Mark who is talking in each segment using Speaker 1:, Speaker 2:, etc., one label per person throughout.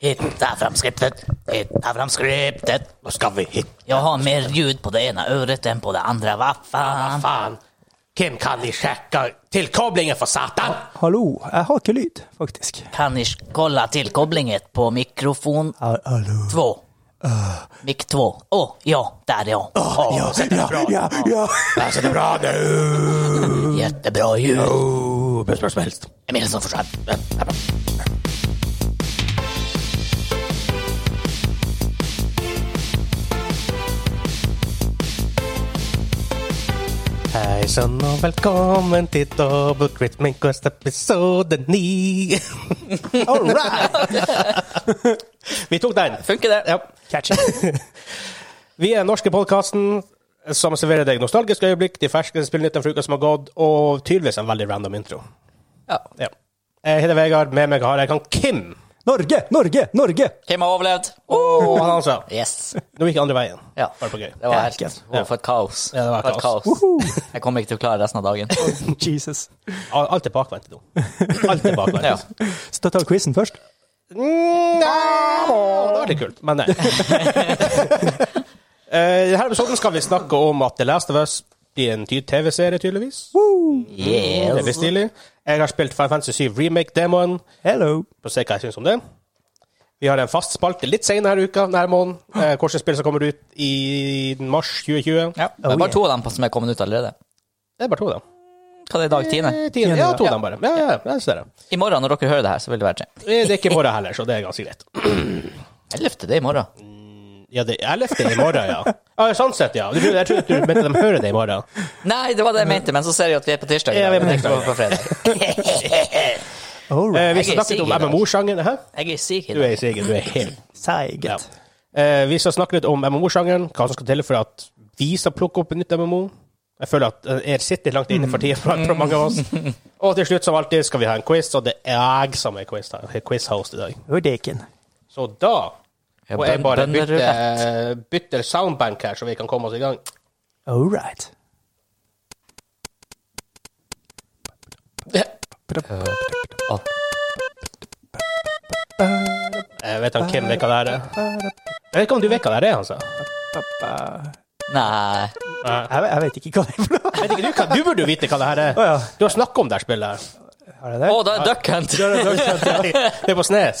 Speaker 1: Hitta fram skriptet, hitta fram skriptet.
Speaker 2: Nå skal vi hit.
Speaker 1: Jag har mer ljud på det ena öret än på det andra. Vad
Speaker 2: Hva
Speaker 1: fan?
Speaker 2: faen? Hvem kan de sjekke tilkoblingen for satan?
Speaker 3: Hallo, jeg har ikke lyd, faktisk.
Speaker 1: Kan ni kolla tillkoblingen på mikrofon
Speaker 3: Hallo.
Speaker 1: 2? Mic 2. Åh, ja, där är jag.
Speaker 2: Åh, ja, så det er bra.
Speaker 3: Ja, ja.
Speaker 2: Ja, så det er bra. nå.
Speaker 1: Jättebra ljud.
Speaker 2: Åh, Best spørsmål helst.
Speaker 1: Emil som försvann.
Speaker 2: Hei sann, og velkommen til Double Crit Minkost episode 9. All right! Vi tok den.
Speaker 4: Funker det?
Speaker 2: Ja. Catch. Vi er den norske podkasten som serverer deg nostalgiske øyeblikk, de ferske spillnyttene fra uka som har gått, og tydeligvis en veldig random intro.
Speaker 4: Ja.
Speaker 2: Ja. Jeg heter Vegard, med meg har jeg han Kim.
Speaker 3: Norge, Norge, Norge!
Speaker 4: Kim har overlevd.
Speaker 2: Og han altså.
Speaker 4: Yes.
Speaker 2: Nå gikk andre veien.
Speaker 4: Ja.
Speaker 2: Bare på gøy.
Speaker 4: Det var helt
Speaker 3: Ja.
Speaker 4: wow, For et kaos.
Speaker 2: Ja, det var
Speaker 4: For et
Speaker 2: kaos.
Speaker 4: Jeg kommer ikke til å klare resten av dagen.
Speaker 3: Jesus.
Speaker 2: Alt er bakvendt nå. Alt er bakvendt.
Speaker 4: Ja.
Speaker 3: Skal jeg ta quizen først?
Speaker 2: Mm, ja, det var litt kult, men nei. Eh, I denne episoden skal vi snakke om at The Last of Us blir en ny TV-serie, tydeligvis.
Speaker 1: Yeah.
Speaker 2: Veldig stilig. Jeg har spilt 557 Remake-demoen.
Speaker 3: Hello.
Speaker 2: Få se hva jeg syns om det. Vi har en fast spalte litt senere i uka, nær måneden. Eh, Hvilke spill som kommer ut i mars 2020.
Speaker 4: Ja. Det
Speaker 3: Oh,
Speaker 4: er
Speaker 3: yeah.
Speaker 4: bare to av dem som er kommet ut allerede.
Speaker 2: Det er bare to, da.
Speaker 4: Hva er det i dag? Tiende?
Speaker 2: Eh, tiende. Ja, to av dem bare. Ja, ja, ja, jeg ser det.
Speaker 4: I morgen, når dere hører det her, så vil det være tre.
Speaker 2: Eh, Det er ikke i morgen heller, så det er ganske greit.
Speaker 4: Ellevte, det er i morgen.
Speaker 2: Ja, det er 11. i morgen, ja. Ah, sånn sett, ja. Du- Jeg trodde du mente de hører det i morgen.
Speaker 4: Nei, det var det jeg mente, men så ser jeg at vi er på tirsdag. i
Speaker 2: Ja,
Speaker 4: dag.
Speaker 2: vi er på
Speaker 4: Det
Speaker 2: tirsdag.
Speaker 4: var På fredag.
Speaker 2: Eh,
Speaker 3: All right.
Speaker 2: vi
Speaker 4: Jeg er altså.
Speaker 2: skal snakke litt om
Speaker 4: Sigrid, da.
Speaker 2: MMO-sjangeren. Hæ?
Speaker 4: Jeg er syk i
Speaker 2: Du
Speaker 4: dag.
Speaker 2: er Sigurd, du er helt ja.
Speaker 3: Seiget.
Speaker 2: Eh, Vi skal snakke litt om MMO-sjangeren, hva som skal til for at vi skal plukke opp et nytt MMO. Jeg føler at eh, jeg sitter langt inne for tida fra, fra mange av oss.
Speaker 4: Mm.
Speaker 2: Og til slutt, som alltid, skal vi ha en quiz, og det er jeg som er quiz, quiz-host i dag.
Speaker 3: Hurdeken.
Speaker 2: Så da
Speaker 4: Ja,
Speaker 2: må jeg
Speaker 4: bøn-
Speaker 2: bare
Speaker 4: bønder
Speaker 2: bytte,
Speaker 4: rett.
Speaker 2: bytte soundbank her, så vi kan komme oss i gang.
Speaker 3: All right.
Speaker 4: Å,
Speaker 2: Jeg vet han Kim vet hva det her er. Jeg vet ikke om du vet hva det her er, altså.
Speaker 4: Nei.
Speaker 3: Jeg, jeg vet ikke hva det er for noe.
Speaker 2: Vet ikke du, hva, du burde jo vite hva det her er.
Speaker 3: Å ja.
Speaker 2: Du har snakket om det her spillet. her.
Speaker 3: Er det
Speaker 4: Å, da
Speaker 3: det?
Speaker 4: er Duck Hunt!
Speaker 2: Det er på Snes.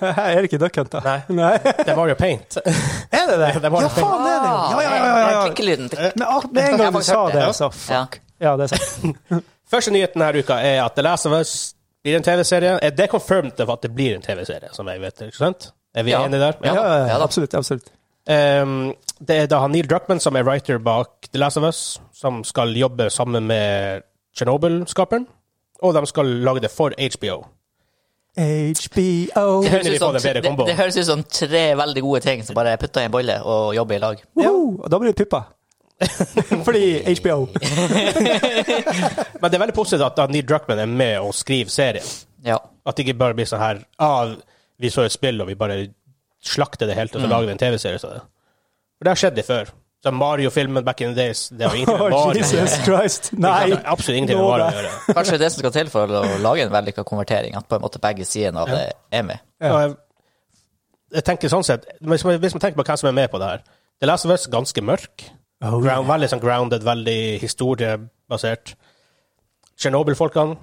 Speaker 3: Her er det ikke Duck Hunt, da.
Speaker 2: Nei.
Speaker 3: Nei.
Speaker 2: Det var jo paint.
Speaker 3: Er det det?
Speaker 2: Det var
Speaker 3: ja,
Speaker 2: det.
Speaker 3: faen, det er det jo. Ja, ja, ja. ja, ja.
Speaker 4: Klikkelyden.
Speaker 3: Men ah, med en gang du sa det,
Speaker 4: Ja.
Speaker 3: så fuck. Ja, det er sant.
Speaker 2: Første nyheten her uka er at The Last of Us blir en TV-serie. Er det confirmed for at det blir en TV-serie, som jeg vet, ikke sant? Er vi
Speaker 4: Ja.
Speaker 2: enige der?
Speaker 3: Ja,
Speaker 4: Ja,
Speaker 3: ja,
Speaker 4: ja
Speaker 3: ja,
Speaker 4: da.
Speaker 3: absolutt. absolutt.
Speaker 2: Ehm, det er da han Neil Druckmann, som er writer bak The Last of Us, som skal jobbe sammen med Chernobyl-skaperen, og de skal lage det for HBO.
Speaker 3: HBO.
Speaker 4: Det høres,
Speaker 2: Kunne vi
Speaker 4: ut som,
Speaker 2: fått en bedre
Speaker 4: det,
Speaker 2: kombo?
Speaker 4: det høres ut som tre veldig gode ting som bare er putta i en bolle og jobber i lag.
Speaker 3: Woho! Og da blir det puppa. Fordi HBO.
Speaker 2: Men det er veldig positivt at da Neil Druckmann er med og skriver serien.
Speaker 4: Ja.
Speaker 2: At det ikke bare blir sånn her ah, Vi så et spill, og vi bare slakter det helt, og så lager vi en TV-serie av det. For det har skjedd det før. Så Mario-filmen back in the days, det har ingenting med Mario
Speaker 3: Oh,
Speaker 2: å gjøre.
Speaker 3: Jesus Christ. Nei.
Speaker 2: Det har Absolutt ingenting med
Speaker 3: Nå
Speaker 2: Mario å
Speaker 3: da.
Speaker 2: gjøre.
Speaker 4: Kanskje det er det som skal til for å lage en vellykka konvertering, at på en måte begge sidene av det er med.
Speaker 3: Ja.
Speaker 2: Og jeg, jeg tenker sånn sett, hvis man, hvis man tenker på hvem som er med på det her The Last of Us ganske mørk.
Speaker 3: Oh,
Speaker 2: Ground, veldig sånn grounded, veldig historiebasert. Tsjernobyl-folkene,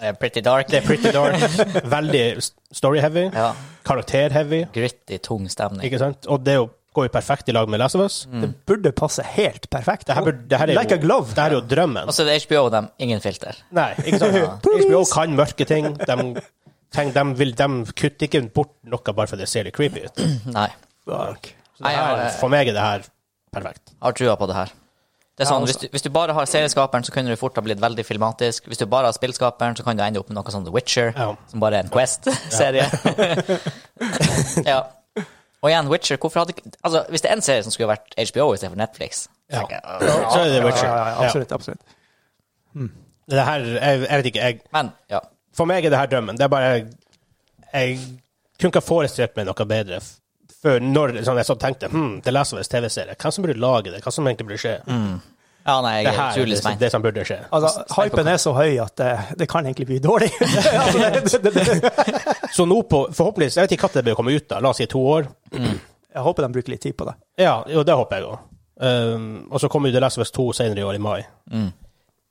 Speaker 4: Eh, Pretty dark.
Speaker 2: det er pretty dark. veldig s- story-heavy.
Speaker 4: Ja.
Speaker 2: Karakter-heavy.
Speaker 4: Gritty, tung stemning.
Speaker 2: Ikke sant? Og det er jo, går jo perfekt i lag med The Last of Us.
Speaker 3: Det burde passe helt perfekt.
Speaker 2: Det her, burde- det her er jo,
Speaker 3: Mm. like a glove. Altså-
Speaker 2: Det her er jo drømmen.
Speaker 4: Og så er det HBO og dem, ingen filter.
Speaker 2: Nei, ikke sant? HBO kan mørke ting. De, tenk, de, vil, de kutter ikke bort noe bare for det ser litt creepy ut.
Speaker 4: Nei.
Speaker 3: Fuck.
Speaker 2: Så det
Speaker 4: Nei, ja,
Speaker 2: her,
Speaker 4: eh.
Speaker 2: for meg er det her perfekt.
Speaker 4: Har trua på det her. Det er sånn,
Speaker 3: Ja,
Speaker 4: hvis du, hvis du bare har serieskaperen, så kunne du fort ha blitt veldig filmatisk. Hvis du bare har spillskaperen, så kan du ende opp med noe sånn The Witcher,
Speaker 2: Ja.
Speaker 4: som bare er en Quest-serie. ja. Og igjen, Witcher, hvorfor hadde ikke Altså, hvis det er en serie som skulle vært HBO istedenfor Netflix
Speaker 2: Ja. Så er det
Speaker 3: Ja,
Speaker 2: Witcher.
Speaker 3: ja, ja,
Speaker 2: Ja.
Speaker 3: absolutt. absolutt.
Speaker 2: Det her, jeg, jeg vet ikke, jeg,
Speaker 4: Men, ja.
Speaker 2: for meg er det her drømmen. Det er bare, jeg kunne ikke ha forestilt meg noe bedre f- hmm, før når sånn, jeg så tenkte, hm, det leser vi TV-serie. Hvem som burde lage det? Hva som egentlig burde skje?
Speaker 4: Ja, nei, jeg
Speaker 2: Det
Speaker 4: er
Speaker 2: her er
Speaker 4: Mm. utrolig
Speaker 2: det, som-
Speaker 4: spent.
Speaker 2: det som burde skje.
Speaker 3: Altså, hypen er så høy at det, det kan egentlig bli dårlig. altså, det, det, det, det.
Speaker 2: Så nå på, forhåpentligvis, jeg vet ikke når det bør komme ut, da, la oss si to år.
Speaker 3: Jeg håper de bruker litt tid på det.
Speaker 2: Ja, jo, det håper jeg òg. Um, og så kommer jo The Last of Us 2 senere i år, i mai.
Speaker 4: Mm.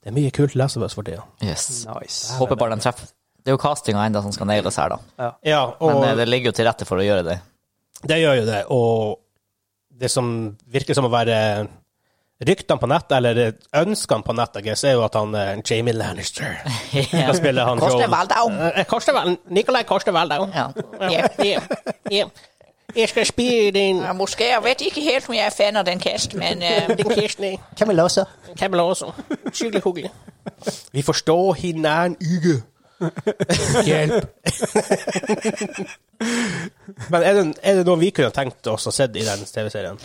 Speaker 2: Det er mye kult Last of Us for tida.
Speaker 4: Yes.
Speaker 3: Nice.
Speaker 4: Håper bare de treffer. Det er jo castinga enda som skal nailes her, da.
Speaker 2: Ja,
Speaker 4: Men
Speaker 2: og
Speaker 4: eh, det ligger jo til rette for å gjøre det.
Speaker 2: det gjør jo det. Og det som virker som å være ryktene på nettet, eller ønskene på nettet, jeg ser jo at han eh, Jamie Lannister
Speaker 4: Ja.
Speaker 2: skal spille han
Speaker 4: Koster
Speaker 2: rollen.
Speaker 4: Waldau.
Speaker 2: Eh, Koster Waldau. Nikolai Koster Waldau.
Speaker 4: Ja.
Speaker 2: Ja, ja. Jeg skal spille din
Speaker 5: Måske, jeg vet ikke helt om jeg er fan av den cast, men øh,
Speaker 2: din Kirsten
Speaker 1: Hvem vil låse?
Speaker 2: Kamela også. Skikkelig hyggelig. Vi forstår hinanden ikke. Hjelp. Men er det, er det noe vi kunne tenkt oss å sett i den TV-serien?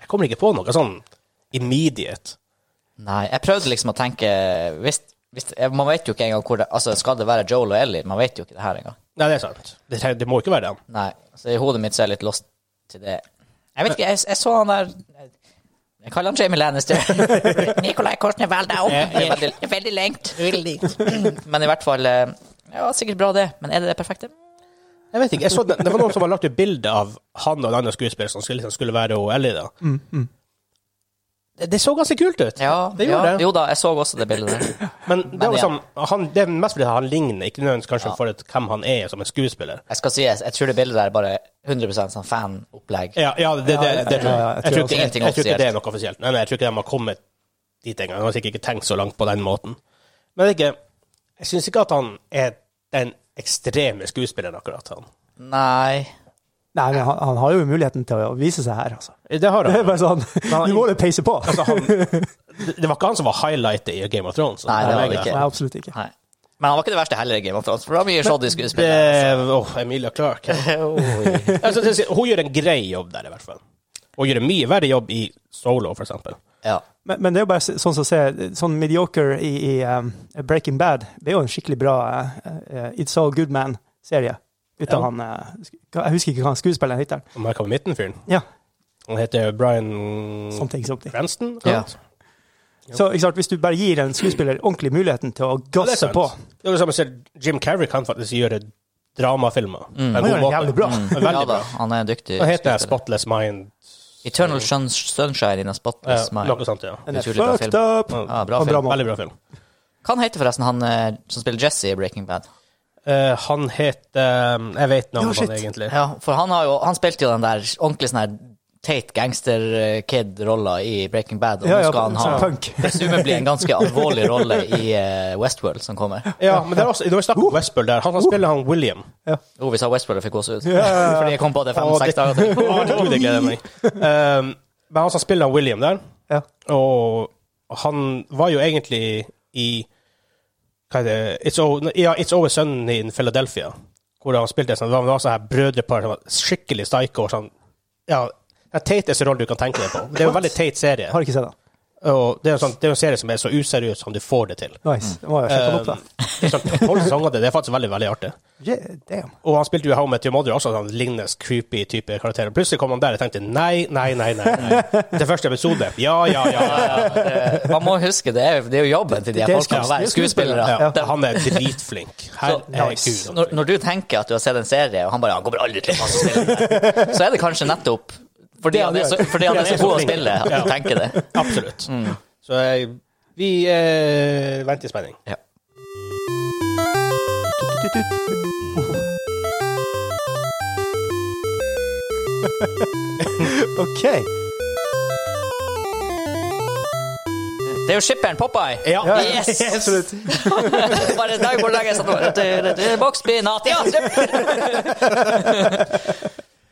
Speaker 2: Jeg kommer ikke på noe sånn immediate.
Speaker 4: Nei, jeg prøvde liksom å tenke hvis, hvis, eh, Man vet jo ikke engang hvor det Altså, skal det være Joel og Ellie? Man vet jo ikke det her engang.
Speaker 2: Nei, det er sant. Det, treng- det må ikke være den.
Speaker 4: Nei, så i hodet mitt så er jeg litt lost til det. Jeg vet ikke, jeg, jeg så han der Jeg kaller han Jamie Lannister,
Speaker 5: Nikolaj Korsner Waldau.
Speaker 4: Ja,
Speaker 5: Det
Speaker 4: ja.
Speaker 5: er veldig- det er veldig lengt.
Speaker 4: men i hvert fall eh, Ja, sikkert bra det, men er det det perfekte?
Speaker 2: Jeg vet ikke, jeg så det, det var noen som hadde lagt ut bilde av han og en annen skuespiller som skulle, liksom skulle være hun Ellie, da. Det, det så ganske kult ut.
Speaker 4: Ja,
Speaker 2: det
Speaker 4: ja,
Speaker 2: gjorde det.
Speaker 4: Jo da, jeg så også det bildet der.
Speaker 2: Men det er
Speaker 4: Men
Speaker 2: liksom, han, det er mest fordi han ligner, ikke nødvendigvis kanskje for et, hvem han er som en skuespiller.
Speaker 4: Jeg skal si, jeg, jeg tror det bildet der er bare 100 sånn fanopplegg.
Speaker 2: Ja, ja det, det, det,
Speaker 3: Ja,
Speaker 2: tror jeg.
Speaker 3: ja, ja,
Speaker 2: Jeg
Speaker 3: jeg tror
Speaker 2: tror
Speaker 3: også
Speaker 2: ikke, jeg,
Speaker 4: ingenting
Speaker 2: jeg tror ikke det er
Speaker 4: offisielt.
Speaker 2: noe offisielt. Nei, nei, jeg tror ikke de har kommet dit engang. Han har sikkert ikke tenkt så langt på den måten. Men jeg, vet ikke, jeg syns ikke at han er den ekstreme skuespilleren, akkurat han.
Speaker 4: Nei
Speaker 3: Nei, men han, han har jo muligheten til å vise seg her, altså.
Speaker 2: Det har
Speaker 3: Det er
Speaker 2: han.
Speaker 3: bare sånn, nå må du peise på.
Speaker 2: Altså, han det det var ikke han som var highlightet i Game of Thrones.
Speaker 4: Nei, det var det
Speaker 3: Nei,
Speaker 4: ikke.
Speaker 3: absolutt ikke.
Speaker 4: Nei. Men han var ikke det verste heller i Game of Thrones, for det var mye shoddy skuespill.
Speaker 2: Det, åh, Emilia Clarke.
Speaker 4: Oi.
Speaker 2: Altså, det- hun gjør en grei jobb der, i hvert fall. Hun gjør en mye verre jobb i Solo, for eksempel.
Speaker 4: Ja.
Speaker 3: Men, men det er jo bare så- sånn som ser Sånn mediocre i, i um, Breaking Bad, det er jo en skikkelig bra uh, uh, It's All Good Man-serie. Uten
Speaker 2: Ja.
Speaker 3: han uh, sk- Jeg husker ikke hva han skuespilleren heter.
Speaker 2: Og Michael Mittenfyren.
Speaker 3: Ja,
Speaker 2: Han heter Brian
Speaker 3: sånne ting. Sånne ting.
Speaker 2: Cranston.
Speaker 4: Ja.
Speaker 3: Så ikke sant, hvis du bare gir en skuespiller ordentlig muligheten til å
Speaker 2: det er
Speaker 3: gasse
Speaker 2: sant.
Speaker 3: på
Speaker 2: Det er det samme som Jim Carrey kan faktisk gjøre dramafilmer.
Speaker 4: Mm.
Speaker 2: på en
Speaker 3: Han
Speaker 2: god
Speaker 3: gjør det
Speaker 2: måte.
Speaker 3: jævlig bra.
Speaker 4: ja
Speaker 2: Veldig
Speaker 4: da,
Speaker 2: bra.
Speaker 4: han er en dyktig
Speaker 2: Hva heter det?
Speaker 4: skuespiller.
Speaker 2: Spotless Mind?
Speaker 4: Eternal Sun Sunshine in a
Speaker 2: Eh,
Speaker 4: Spotless Mind.
Speaker 2: noe sånt, ja.
Speaker 3: Den er
Speaker 4: Utrolig bra
Speaker 3: fucked
Speaker 4: film.
Speaker 3: up!
Speaker 2: Ja,
Speaker 4: Ja, bra
Speaker 3: Og
Speaker 4: film.
Speaker 3: bra mål.
Speaker 2: Veldig bra film.
Speaker 4: Hva han heter forresten han eh, som spiller Jesse i Breaking Bad?
Speaker 2: Eh, han heter um, Jeg vet
Speaker 3: Ja,
Speaker 2: navnet på
Speaker 3: shit.
Speaker 2: han egentlig.
Speaker 4: Ja, for han, har jo, han spilte jo den der ordentlig sånn her teit gangster-kid-rolla i Breaking Bad, og
Speaker 3: Ja,
Speaker 4: nå
Speaker 3: ja,
Speaker 4: skal han
Speaker 3: sånn
Speaker 4: ha
Speaker 3: punk.
Speaker 4: presumably en ganske alvorlig rolle i eh, Westworld som kommer.
Speaker 2: Ja, men det er også, når vi snakker
Speaker 3: Uh.
Speaker 2: om Westworld der, han, han spiller han William.
Speaker 4: Jo, Oh, vi sa Westworld og fikk gåsehud. Fordi jeg kom på det fem-seks dager til.
Speaker 2: Å, det, det gleder jeg meg. Um, men han som spiller han William der,
Speaker 3: Ja.
Speaker 2: og han var jo egentlig i Hva er det It's, Al- ja, It's Always Sunny in Philadelphia, hvor han spilte sånn, det var sånn her brødrepar som var skikkelig psycho. og Sånn, ja, den teiteste rollen du kan tenke deg på. Det er jo en veldig teit serie.
Speaker 3: Har ikke sett den.
Speaker 2: Og det er, en sånn, det er en serie som er så useriøs som du får det til.
Speaker 3: Nice.
Speaker 2: Mm.
Speaker 3: Det må jeg sjekke den opp, da.
Speaker 2: Det er sånn, tolv sesonger, det er faktisk veldig, veldig artig.
Speaker 3: Yeah, damn.
Speaker 2: Og han spilte jo i How I Met Your Mother også, sånn lignende creepy type karakterer. Plutselig kom han der og tenkte nei, nei, nei, nei. nei. Til første episode. Ja, ja, ja. ja, ja.
Speaker 4: Man må huske, det er, det er jo jobben til de her
Speaker 3: Det er
Speaker 4: folkene å være skuespillere.
Speaker 3: skuespillere,
Speaker 2: ja. Han er dritflink.
Speaker 4: Så,
Speaker 2: Herregud. altså.
Speaker 4: når, når du tenker at du har sett en serie, og han bare han kommer aldri til å passe spille så er det kanskje nettopp fordi han er så, fordi han er så god å spille at du tenker det.
Speaker 2: Absolutt.
Speaker 3: Mm.
Speaker 2: Så jeg, vi eh, venter i spenning.
Speaker 3: OK.
Speaker 4: Det er jo skipperen Popeye!
Speaker 2: Ja.
Speaker 3: Ja,
Speaker 4: Yes!
Speaker 3: Absolutt.
Speaker 4: Bare dag på dag jeg satt og- det- det- Boksspinat! Ja, det-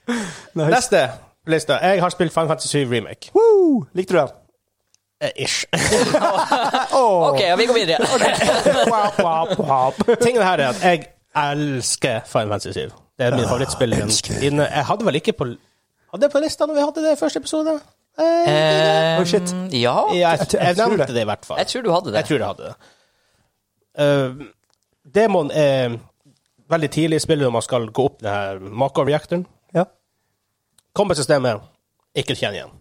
Speaker 3: Nice.
Speaker 2: Neste på lista. Jeg har spilt Final Fantasy 7 Remake.
Speaker 3: Woo! Likte du den?
Speaker 2: Eh, ish.
Speaker 3: Oh,
Speaker 4: OK, ja, vi går videre.
Speaker 3: wap, wap, wap.
Speaker 2: Tingen her er at jeg elsker Final Fantasy 7. Det er min
Speaker 3: Ah,
Speaker 2: favorittspill. i den- innen- Jeg hadde vel ikke på Hadde jeg på lista når vi hadde det i første episode? Eh,
Speaker 4: Eh,
Speaker 3: Oh, shit.
Speaker 4: Ja,
Speaker 2: jeg, jeg,
Speaker 3: jeg tror
Speaker 2: nevnte
Speaker 3: det.
Speaker 2: det i hvert fall.
Speaker 4: jeg tror du hadde
Speaker 2: Jeg
Speaker 4: det.
Speaker 2: tror det hadde det. Eh, Demon er veldig tidlig i spillet når man skal gå opp denne Mako-reactoren.
Speaker 3: Ja.
Speaker 2: Combat-systemet ikke kjenner igjen.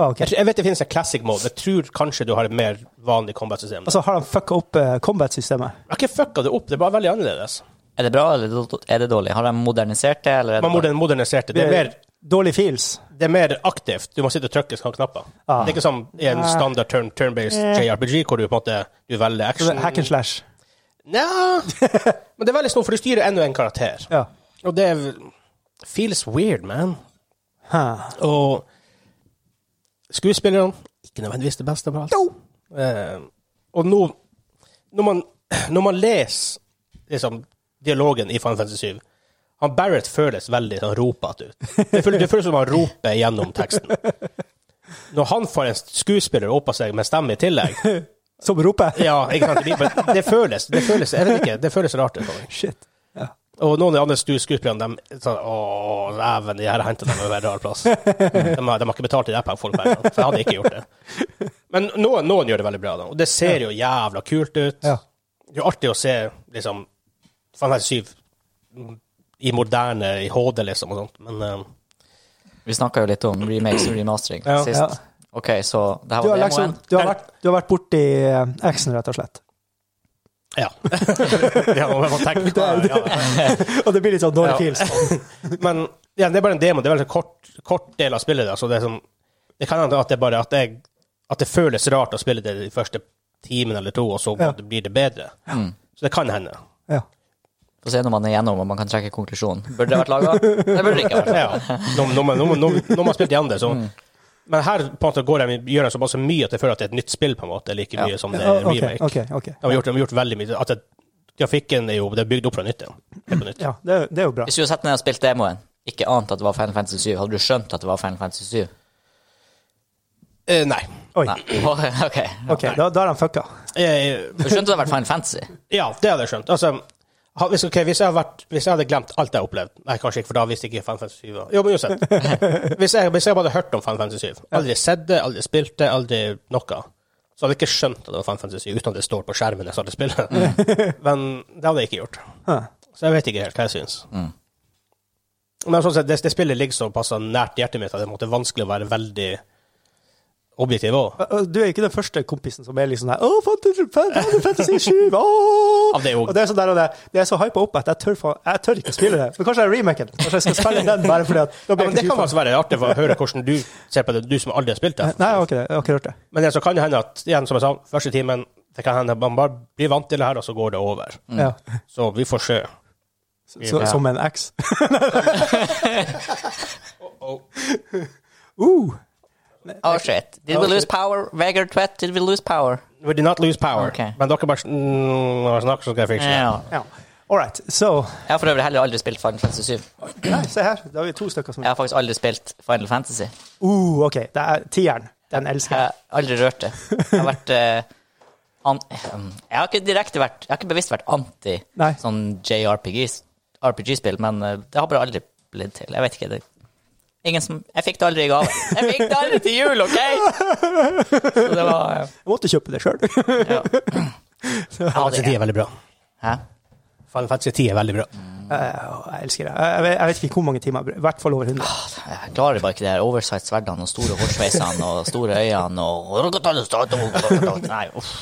Speaker 3: Ah, ok.
Speaker 2: Jeg, tror- jeg vet det finnes en classic mode. Jeg tror kanskje du har et mer vanlig combat-system.
Speaker 3: Altså, har han fucka opp eh, combat-systemet?
Speaker 2: Jeg har ikke fucka det opp, det er bare veldig annerledes.
Speaker 4: Er det bra, eller do- er det dårlig? Har de modernisert det, eller er det
Speaker 2: Man modern- moderniserte. Det er mer,
Speaker 3: Dårlige feels.
Speaker 2: det er mer aktivt. Du må sitte og trykke sånne knapper.
Speaker 3: Ah. Eh.
Speaker 2: Det er ikke som i en standard turn- turn-based JRPG, hvor du på en måte du velger action.
Speaker 3: Hack and slash.
Speaker 2: Nja Men det er veldig snodig, for du styrer enda en karakter.
Speaker 3: Ja.
Speaker 2: Og det er, feels weird, man.
Speaker 3: Huh.
Speaker 2: Og skuespillerne Ikke nødvendigvis det beste på alt. Eh, og nå når man, når man leser liksom, dialogen i Final Fantasy 7 han Barrett føles veldig sånn ropete ut. Det føles, det føles som han roper gjennom teksten. Når han får en skuespiller opp av seg med stemme i tillegg
Speaker 3: Som roper.
Speaker 2: Ja, ikke sant? Det, blir- det føles det føles, jeg vet ikke, det føles rart ut. for meg.
Speaker 3: Shit.
Speaker 2: Og noen av de andre stu- skuespillerne de, sånn, Å, ræven, de her hentet dem over en rar plass. De, har- de har ikke betalt de der folk pengene, så jeg hadde ikke gjort det. Men noen, noen gjør det veldig bra, da. Og det ser jo jævla kult ut.
Speaker 3: Ja.
Speaker 2: Det er jo artig å se liksom Final Fantasy 7 i moderne, i HD, liksom, og sånt. Men eh,
Speaker 4: Vi snakka jo litt om remakes og remastering
Speaker 2: Ja.
Speaker 4: sist.
Speaker 3: Ja.
Speaker 4: OK, så det her
Speaker 3: Du
Speaker 4: var
Speaker 3: har,
Speaker 4: demoen.
Speaker 3: liksom, du har vært, du har vært borti eh, X-en, rett og slett.
Speaker 2: ja. ja, man må tenke på det. Ja, ja.
Speaker 3: Og det blir litt sånn
Speaker 2: Ja.
Speaker 3: dårlige feels.
Speaker 2: Men ja, det er bare en demo. Det er veldig kort, kort del av spillet. Da. Så det, er sånn, det kan hende at det bare at, jeg, at det føles rart å spille det de første timen eller to, og så
Speaker 3: Ja.
Speaker 2: blir det bedre.
Speaker 4: Mm.
Speaker 2: Så det kan hende.
Speaker 3: Ja.
Speaker 4: Få se når man er gjennom og man kan trekke konklusjonen. Burde det vært laga? Det burde det ikke vært.
Speaker 2: Ja. Når, når, man, når, man, når man har spilt igjen det, så
Speaker 4: Mm.
Speaker 2: Men her på en måte går de, gjør de såpass mye at jeg føler at det er et nytt spill, på en måte, like
Speaker 4: Ja.
Speaker 2: mye som det
Speaker 3: Ja,
Speaker 2: er
Speaker 3: ok,
Speaker 2: remake.
Speaker 3: ok, ok.
Speaker 2: De har gjort, de har gjort veldig mye. At det, grafikken er jo det er bygd opp fra nytt igjen. Helt på nytt.
Speaker 3: Ja, det, er- det er jo bra.
Speaker 4: Hvis du hadde satt ned og spilt demoen, ikke ant at det var Final Fantasy 7, hadde du skjønt at det var Final Fantasy 7?
Speaker 2: Eh, nei.
Speaker 3: Oi.
Speaker 4: Nei. OK.
Speaker 3: Ok, da, da er han fucka.
Speaker 2: Eh,
Speaker 4: Du skjønte det hadde vært Final Fantasy?
Speaker 2: Ja, det hadde jeg skjønt. Altså, ha- hvis, ok, hvis, jeg hadde vært, hvis jeg hadde glemt alt jeg har opplevd Nei, kanskje ikke, for da visste jeg ikke Final Fantasy 7 var Jo, men uansett. Hvis jeg, hvis jeg bare hadde hørt om Final Fantasy 7, aldri sett det, aldri spilt det, aldri noe, så hadde jeg ikke skjønt at det var Final Fantasy 7 uten at det står på skjermen jeg starter spillet. Men det hadde jeg ikke gjort.
Speaker 3: Huh.
Speaker 2: Så jeg vet ikke helt hva jeg syns.
Speaker 4: Mm.
Speaker 2: Men sånn sett, det, det spillet ligger så pass nært hjertet mitt at det er på en måte vanskelig å være veldig objektiv òg.
Speaker 3: Og- og Du er ikke den første kompisen som er liksom der Å, Fantasy Fantasy- Fantasy 7! Åh!
Speaker 2: Ja, det er jo-
Speaker 3: og det er sånn der og det, det er så hypa opp at jeg tør, faen- jeg tør ikke spille det. Men kanskje jeg remaker den. Kanskje jeg skal spille den bare fordi at da
Speaker 2: Ja,
Speaker 3: blir
Speaker 2: men det kan
Speaker 3: jeg ikke
Speaker 2: faktisk være artig for å høre hvordan du ser på det, du som aldri har spilt det.
Speaker 3: Nei, jeg har ikke det. Jeg har ikke hørt det.
Speaker 2: Men det så kan det hende at, igjen som jeg sa, første timen det kan hende at man bare blir vant til det her, og så går det over.
Speaker 3: Ja.
Speaker 2: Så vi får se.
Speaker 3: Så, som en X.
Speaker 2: oh.
Speaker 3: Uh,
Speaker 4: Oh shit. Did we lose power? Vegard Tvedt, did we lose power?
Speaker 2: We did not lose power.
Speaker 4: Ok.
Speaker 2: Men dere bare mm, når jeg snakker, så skal jeg fikse det.
Speaker 4: Ja.
Speaker 3: ja. All right. Så
Speaker 4: Jeg har for øvrig heller aldri spilt Final Fantasy 7.
Speaker 3: Nei, se her. Da har vi to stykker som
Speaker 4: Jeg har faktisk aldri spilt Final Fantasy. Jeg
Speaker 3: Uh, OK. Det er tieren. Den elsker jeg.
Speaker 4: har aldri rørt det. Jeg har vært eh, an ehm, Jeg har ikke direkte vært Jeg har ikke bevisst vært anti
Speaker 3: Nei.
Speaker 4: sånn JRPG-spill, men eh, det har bare aldri blitt til. Jeg vet ikke. det Ingen som Jeg fikk det aldri i gave. Jeg fikk det aldri til jul, OK?! Så det var eh,
Speaker 3: Jeg måtte kjøpe det sjøl.
Speaker 4: Ja.
Speaker 2: Final Fantasy 10 er veldig bra.
Speaker 4: Hæ?
Speaker 2: Final Fantasy 10 er veldig bra.
Speaker 3: jeg elsker det. Jeg, vet- jeg vet ikke hvor mange timer. jeg bruker. I hvert fall over 100.
Speaker 4: Jeg klarer bare ikke det her oversight-sverdene og store hårsveisene og store øyene og Nei, uff.